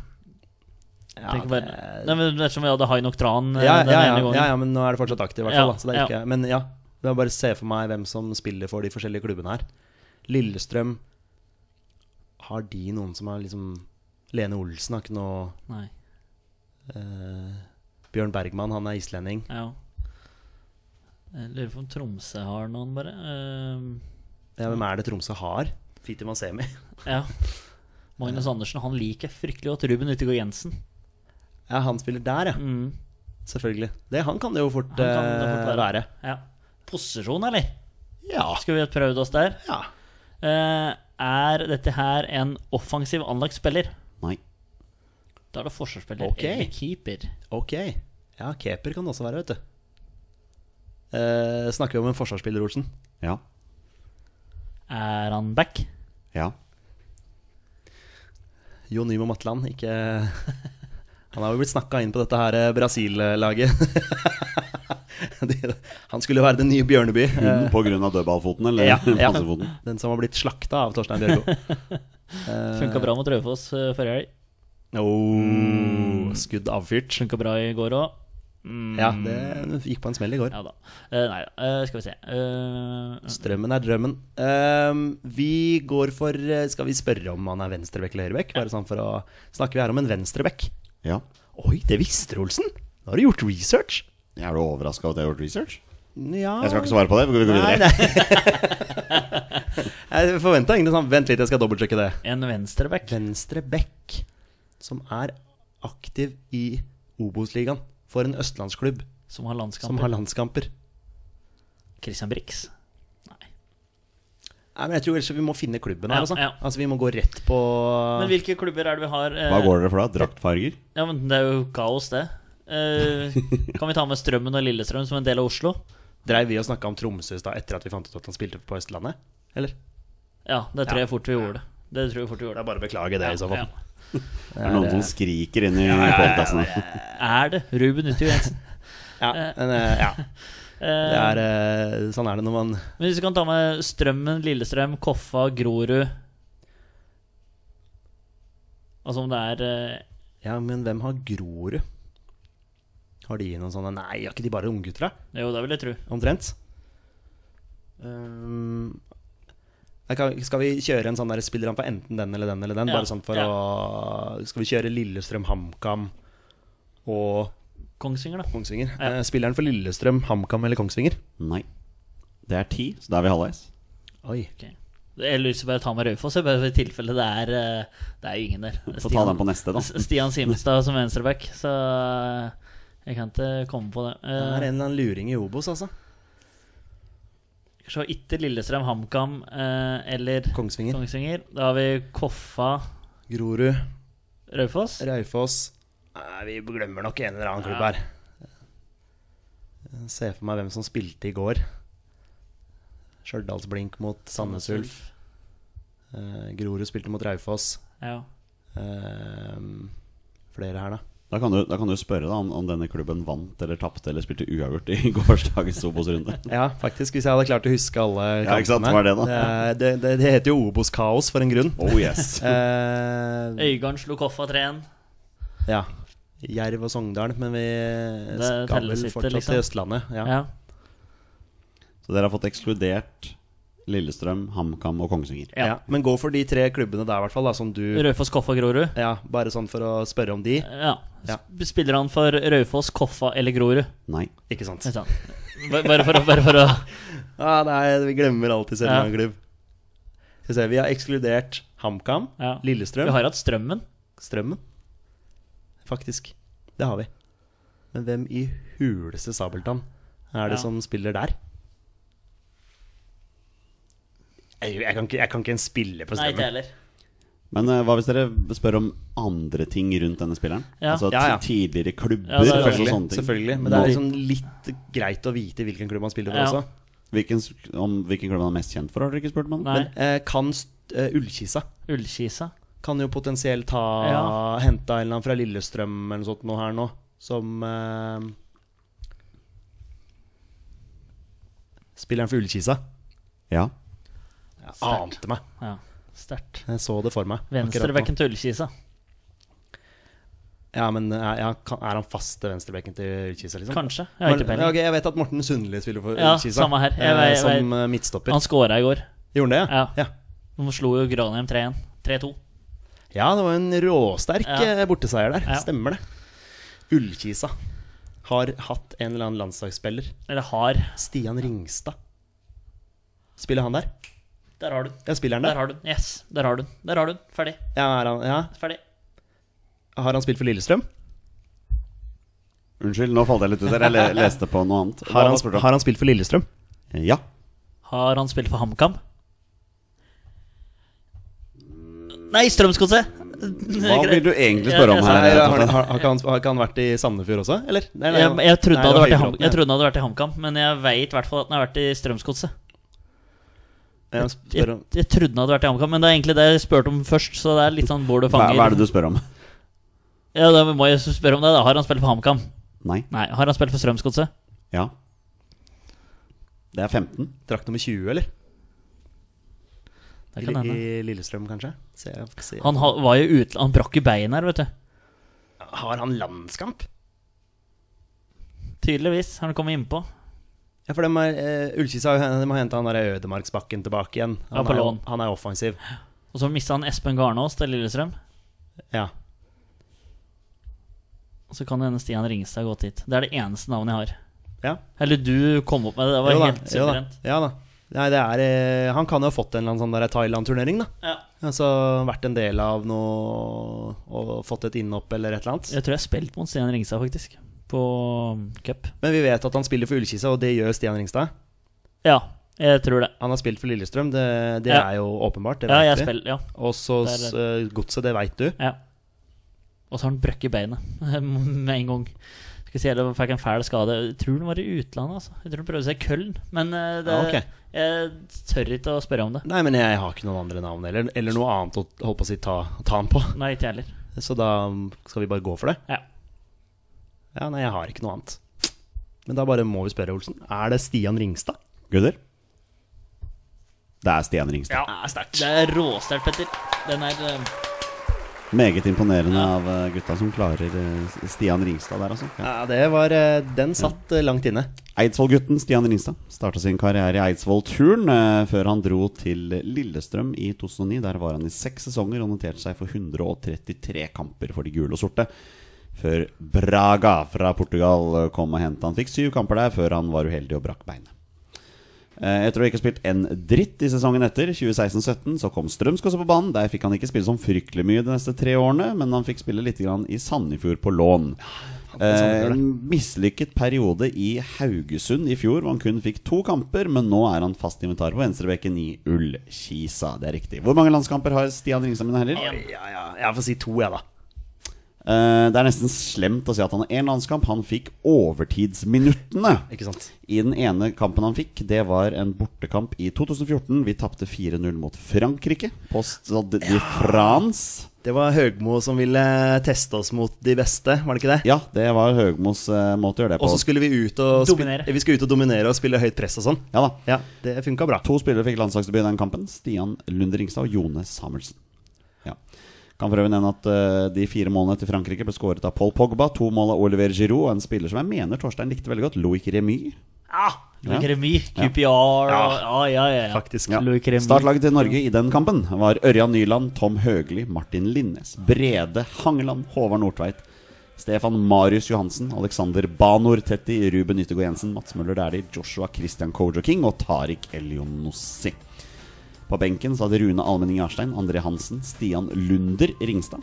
S3: Ja,
S1: Tenk
S3: det,
S1: bare- Nei, men Dersom vi hadde High Nok Tran eh,
S3: ja,
S1: den
S3: ja,
S1: ene
S3: ja,
S1: gangen.
S3: ja, ja, men nå er det fortsatt aktiv, i hvert
S1: Ja,
S3: fall. da, så det er
S1: ja.
S3: ikke, men ja, jeg bare se for meg hvem som spiller for de forskjellige klubbene her. Lillestrøm Har de noen som er liksom Lene Olsen har ikke noe
S1: Nei.
S3: eh, Bjørn Bergman, han er islending.
S1: Ja. Jeg lurer på om Tromsø har noen, bare.
S3: Ja, hvem er det Tromsø har? Fiti Masemi.
S1: Eh, ja. Magnus Andersen han liker fryktelig godt Ruben Utegård Jensen.
S3: Ja, han spiller der, ja.
S1: Mm.
S3: Selvfølgelig. Det, han kan det jo fort,
S1: Han kan det fort
S3: eh, være.
S1: Ja. Posisjon, eller?
S3: Ja.
S1: Skulle vi ha prøvd oss der?
S3: ja.
S1: Eh, er dette her en offensiv anlagt spiller?
S2: Nei.
S1: Da er det forsvarsspiller
S3: Ok.
S1: eller keeper.
S3: Ok. Ja, keeper kan det også være, vet du. Eh, snakker vi om en forsvarsspiller, Olsen?
S2: Ja.
S1: Er han back?
S2: Ja.
S3: Jo Nymo Matland, ikke Han har jo blitt snakka inn på dette her eh, Brasil-laget. De- han skulle være den nye Bjørneby. eh,
S2: Kun på grunn av dødballfoten eller
S3: Ja, ja.
S2: panserfoten.
S3: Den som har blitt slakta av Torstein Bjørgo.
S1: Funka bra mot Raufoss eh, forrige helg.
S3: Oh, skudd avfyrt.
S1: Funka bra i går òg.
S3: Ja, det gikk på en smell i går.
S1: Ja da. Eh, nei da, Eh, skal vi se. Eh,
S3: Strømmen er drømmen. Ehm, vi går for eh, Skal vi spørre om han er venstrebekk eller høyrebekk? Bare sånn for å Snakker vi her om en venstrebekk?
S2: Ja.
S3: Oi, det visste du, Olsen! Nå har du gjort research!
S2: Er du overraska over at jeg har gjort research?
S3: Ja
S2: Jeg skal ikke svare på det. Vi går
S3: Nei,
S2: videre.
S3: nei. Jeg forventa egentlig sånn Vent litt, jeg skal dobbeltsjekke det.
S1: en venstreback.
S3: Venstrebekk, som er aktiv i Obos-ligaen for en østlandsklubb
S1: Som har landskamper.
S3: som har landskamper.
S1: Christian Brix.
S3: Nei, men jeg tror kanskje vi må finne klubben her,
S1: Ja,
S3: altså.
S1: ja.
S3: Altså, Vi må gå rett på
S1: Men hvilke klubber er det vi har? eh,
S2: Hva går dere for da? Draktfarger?
S1: Ja, men Det er jo kaos, det. Eh, kan vi ta med Strømmen og Lillestrøm som en del av Oslo?
S3: Dreiv vi og snakka om Tromsø i stad etter at vi fant ut at han spilte på Østlandet? Eller?
S1: Ja, det tror jeg fort vi gjorde. Det tror jeg fort vi
S3: Det
S1: gjorde.
S3: er bare å beklage det, i så fall.
S1: Ja.
S2: Er det noen som skriker inn i podkasten?
S1: Er det Ruben Uti Jensen?
S3: Ja, men, eh, ja. Det
S1: Eh,
S3: er, eh, sånn er det når man
S1: men hvis du kan ta med Strømmen, Lillestrøm, Koffa, Grorud Altså om det er eh,
S3: Ja, men hvem har Grorud? Har de noen sånne Nei, har ikke de bare unggutter, da?
S1: Jo, det vil jeg tro.
S3: Omtrent. Um, jeg kan- skal vi kjøre en sånn der Spiller han på enten den eller den eller den?
S1: Ja,
S3: Bare sånn for
S1: ja.
S3: å Skal vi kjøre Lillestrøm, HamKam og
S1: Kongsvinger, da.
S3: Kongsvinger? Eh, Spilleren for Lillestrøm, HamKam eller Kongsvinger?
S2: Nei. Det er ti, så da er vi halvveis.
S3: Oi.
S1: Ok. Jeg lyser bare å ta med Raufoss, jeg, bare i tilfelle det er eh, Det er jo ingen der.
S2: Får ta den på neste, da.
S1: Stian Simenstad som venstreback, så eh, jeg kan ikke komme på det.
S3: Det er
S1: Eh,
S3: en eller annen luring i Obos, altså.
S1: så ikke Lillestrøm, HamKam eh, eller
S3: Kongsvinger.
S1: Kongsvinger. Da har vi Koffa,
S3: Grorud.
S1: Raufoss.
S3: Raufoss. Nei, vi glemmer nok en eller annen klubb her. Jeg ser for meg hvem som spilte i går. Stjørdalsblink mot Sandnes Ulf. Eh, Grorud spilte mot Raufoss.
S1: Ja.
S3: Eh, flere her, da.
S2: Da kan du, da kan du spørre da om, om denne klubben vant eller tapte eller spilte uavgjort i gårsdagens Obos-runde.
S3: Ja, faktisk. Hvis jeg hadde klart å huske alle kampene.
S2: Ja, ikke sant, det var det da.
S3: er- Det, det, det heter jo Obos-kaos for en grunn.
S2: Oh yes.
S3: Eh,
S1: Øygarden slo Koffa 3-1.
S3: ja. Jerv og Sogndal, men vi
S1: Det
S3: skal
S1: telles
S3: vel
S1: ikke,
S3: fortsatt
S1: liksom.
S3: til Østlandet. Ja.
S1: Ja.
S2: Så dere har fått ekskludert Lillestrøm, HamKam og Kongsvinger.
S1: Ja.
S3: Ja. Men gå for de tre klubbene der, i hvert fall, da, som du
S1: Raufoss, Koffa, Grorud.
S3: Ja, bare sånn for å spørre om de.
S1: Ja.
S3: Ja.
S1: Sp- Spiller han for Raufoss, Koffa eller Grorud?
S2: Nei.
S3: Ikke sant?
S1: Ikke sant? Bare bare for å, bare for å
S3: Ja, nei, vi glemmer alltid
S1: Ja.
S3: Sørlandsklubb. Skal vi se, vi har ekskludert HamKam,
S1: Ja. Vi
S3: Lillestrøm,
S1: har hatt Strømmen.
S3: Strømmen. Faktisk. Det har vi. Men hvem i huleste Sabeltann er det
S1: Ja.
S3: som spiller der? Jeg, jeg, kan ikke, jeg kan ikke en spille på
S1: Nei, ikke
S3: Strømmen.
S1: heller.
S2: Men eh, hva hvis dere spør om andre ting rundt denne spilleren?
S1: Ja.
S2: Altså
S3: Ja, ja.
S2: ti- tidligere klubber
S1: Ja, det er
S2: og
S1: selvfølgelig,
S2: sånne ting.
S3: Selvfølgelig. Men det er liksom litt greit å vite hvilken klubb man spiller for
S1: Ja.
S3: også.
S2: Hvilken, s- om hvilken klubb han er mest kjent for, har dere ikke spurt meg om?
S1: Nei.
S3: Eh, kan st- eh, Ullkisa
S1: Ullkisa.
S3: kan jo potensielt ta
S1: Ja.
S3: Hente en eller annen fra Lillestrøm eller noe sånt noe her nå, som eh, Spilleren for Ullkisa.
S2: Ja.
S3: Jeg Ante meg.
S1: Ja. Sterkt.
S3: Jeg så det for meg. akkurat nå.
S1: Venstrebekken til Ullkisa.
S3: Ja, men eh, ja, kan- Er han fast til venstrebekken til Ullkisa, liksom?
S1: Kanskje. Jeg har ikke
S3: Ja,
S1: peiling.
S3: ok, jeg vet at Morten Sundli spiller for
S1: Ja,
S3: Ullkisa.
S1: samme her. Jeg
S3: eh,
S1: vet-
S3: som eh, midtstopper.
S1: Han scora i går.
S3: Gjorde han det?
S1: Ja.
S3: Ja.
S1: De slo jo Granheim 3-1. 3-2.
S3: Ja, det var en råsterk
S1: Ja.
S3: eh, borteseier der.
S1: Ja.
S3: Stemmer det. Ullkisa har hatt en eller annen landslagsspiller.
S1: Eller har.
S3: Stian Ringstad. Spiller han der?
S1: Der har du den.
S3: Ja, spiller han
S1: Der
S3: der?
S1: har du den. Yes. Der har du den. Der har du den. Ferdig.
S3: Ja, er han, ja.
S1: Ferdig.
S3: Har han spilt for Lillestrøm?
S2: Unnskyld, nå falt jeg litt ut der. Jeg le- leste på noe annet. Hva
S3: Har han,
S2: spurt om?
S3: har han spilt for Lillestrøm?
S2: Ja.
S1: Har han spilt for HamKam? Nei, Strømsgodset!
S2: Hva vil du egentlig spørre om
S1: Jeg-
S2: her?
S3: Nei, har, har,
S2: Tete?
S3: har, ikke han, har ikke han vært i Sandefjord også, eller? Nei, nei,
S1: Jeg,
S3: han-
S1: jeg, trodde
S3: nei,
S1: han hadde
S3: det
S1: vært i
S3: var
S1: Ham-
S3: Høybråten,
S1: jeg trodde han hadde vært i HamKam, men jeg veit i hvert fall at han har vært i Strømsgodset.
S3: ja. Ja, spør
S1: Jeg,
S3: om-
S1: jeg trodde han hadde vært i HamKam, men det er egentlig det jeg spurte om først. Så det er litt sånn hvor du
S2: Hva,
S1: fanger
S2: hva er det du spør om?
S1: Ja, da må jeg spørre om det. da Har han spilt for HamKam?
S2: Nei.
S1: Nei. Har han spilt for Strømsgodset?
S2: Ja. Det er 15.
S3: Drakt nummer 20, eller?
S1: Det kan
S3: I,
S1: hende.
S3: I Lillestrøm, kanskje? Se, se.
S1: Han ha- var jo ute Han brakk jo bein her, vet du.
S3: har han landskamp?
S1: Tydeligvis. Har han kommet innpå?
S3: Ja, for de har, eh, Ullkisa har jo- de har henta han der Ødemarksbakken tilbake igjen. Han,
S1: Ja, på
S3: er, jo-
S1: lån.
S3: han er offensiv.
S1: Og så mista han Espen Garnås til Lillestrøm.
S3: Ja.
S1: Og så kan det hende Stian Ringstad har gått dit. Det er det eneste navnet jeg har.
S3: ja.
S1: Eller du kom opp med det. Det var
S3: Jo da,
S1: helt
S3: jo da,
S1: suverent.
S3: Ja da. Nei, det er, eh, han kan jo ha fått en eller annen sånn der Thailand-turnering, da.
S1: Ja.
S3: Altså vært en del av noe og fått et innhopp eller et eller annet.
S1: Jeg tror jeg har spilt mot Stian Ringstad, faktisk. På um, cup.
S3: Men vi vet at han spiller for Ullkisa, og det gjør Stian Ringstad.
S1: Ja, jeg tror det.
S3: Han har spilt for Lillestrøm, det, det
S1: Ja.
S3: er jo åpenbart. Det
S1: Ja, jeg
S3: vet vi.
S1: spiller, ja.
S3: Og så
S1: Det er
S3: eh, Godset, det veit du.
S1: ja. Og så har han brøkket beinet med en gang. Skal vi si, eller fikk en fæl skade. Jeg tror han var i utlandet, altså. Jeg tror han prøvde seg i Køln. Men eh, det,
S3: Ja, ok.
S1: jeg tør ikke å spørre om det.
S3: Nei, men jeg har ikke noen andre navn eller, eller noe annet å holdt på å si ta, ta han på.
S1: Nei, ikke jeg heller.
S3: Så da skal vi bare gå for det.
S1: Ja.
S3: Ja, nei, jeg har ikke noe annet. Men da bare må vi spørre, Olsen. Er det Stian Ringstad?
S2: Gutter? Det er Stian Ringstad.
S3: Det er Ah, sterkt.
S1: Det er råsterkt, Petter. Den er eh,
S2: Meget imponerende av eh, gutta som klarer eh, Stian Ringstad der, altså. Ja.
S3: Ja, det var eh, Den satt eh, langt inne.
S2: Eidsvoll-gutten Stian Ringstad starta sin karriere i Eidsvoll-turn eh, før han dro til Lillestrøm i 2009. Der var han i seks sesonger og noterte seg for 133 kamper for de gule og sorte. Før Braga fra Portugal kom og hentet han. Fikk syv kamper der før han var uheldig og brakk beinet. Eh, Etter å ha ikke ha spilt en dritt i sesongen etter, 2016-17, så kom Strømsk også på banen. Der fikk han ikke spille som fryktelig mye de neste tre årene, men han fikk spille litt grann i Sandefjord på lån.
S3: sånn
S2: Eh, En mislykket periode i Haugesund i fjor, hvor han kun fikk to kamper, men nå er han fast inventar på venstrebekken i Ullkisa. Det er riktig. Hvor mange landskamper har Stian Ringstad Mine herrer?
S3: Ja, ja, jeg får si to, jeg, da.
S2: Eh, Det er nesten slemt å si at han har én landskamp. Han fikk overtidsminuttene.
S3: Ikke sant?
S2: I den ene kampen han fikk, det var en bortekamp i 2014. Vi tapte 4-0 mot Frankrike på Stade de France.
S3: Det var Høgmo som ville eh, teste oss mot de beste, var det ikke det?
S2: Ja, det var Høgmos eh, måte å gjøre det
S3: Og
S2: på.
S3: så skulle vi ut og, spi-
S1: Dominere.
S3: vi skulle ut og dominere og spille høyt press og sånn.
S2: Ja da.
S3: Ja, det funka bra.
S2: To spillere fikk landslagsdebut i den kampen. Stian Lunde Ringstad og Jone Samuelsen. Ja. Kan for øvrig nevne at eh, de fire målene til Frankrike ble skåret av Paul Pogba, to mål av Oliver Giroud og en spiller som jeg mener Torstein likte veldig godt, Loic Remy.
S1: Ah, Louis
S2: Ja.
S1: Remy, QPR ja. ja, ja, ja, ja.
S3: Faktisk.
S2: Ja.
S1: Loic Remy.
S2: Startlaget til Norge i den kampen var Ørjan Nyland, Tom Høgli, Martin Linnes, Brede Hangeland, Håvard Nordtveit, Stefan Marius Johansen, Alexander Banor Tetti, Ruben Yttergård Jensen, Mats Møller Dæhlie, Joshua Christian Kojo King og Tariq Elionossi. På benken satt Rune Almenning Jarstein, André Hansen, Stian Lunder Ringstad.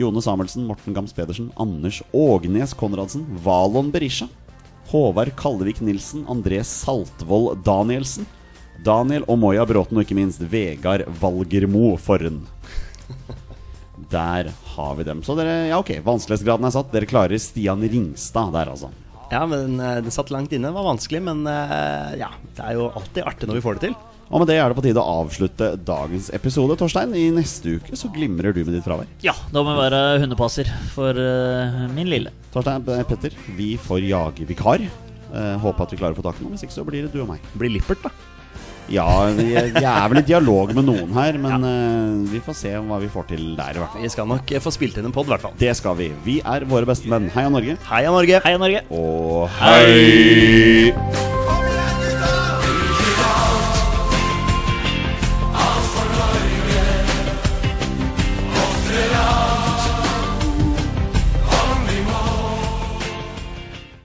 S2: Jone Samuelsen, Morten Gams Pedersen, Anders Ågnes Konradsen, Valon Berisha. Håvard Kallevik Nilsen, André Saltvold Danielsen. Daniel Omoya Bråten og ikke minst Vegard Valgermo Forren. Der har vi dem. Så dere, ja ok, vanskelighetsgraden er satt. Dere klarer Stian Ringstad der, altså.
S3: Ja, men eh, Den satt langt inne, var vanskelig, men eh, ja, det er jo alltid artig når vi får det til.
S2: Og med det er det på tide å avslutte dagens episode, Torstein. I neste uke så glimrer du med ditt fravær.
S1: Ja, da må jeg være hundepasser for eh, min lille.
S2: Torstein eh, Petter, vi får jage vikar. Eh, håper at vi klarer å få tak i noen. Hvis ikke så blir det du og meg.
S3: Blir Lippert, da.
S2: Ja, vi jeg er vel i dialog med noen her, men eh, vi får se hva vi får til der, i hvert fall.
S3: Vi skal nok eh, få spilt inn en pod, i hvert fall.
S2: Det skal vi. Vi er våre beste menn. Heia Norge.
S3: Heia Norge!
S1: Heia Norge!
S2: Og hei!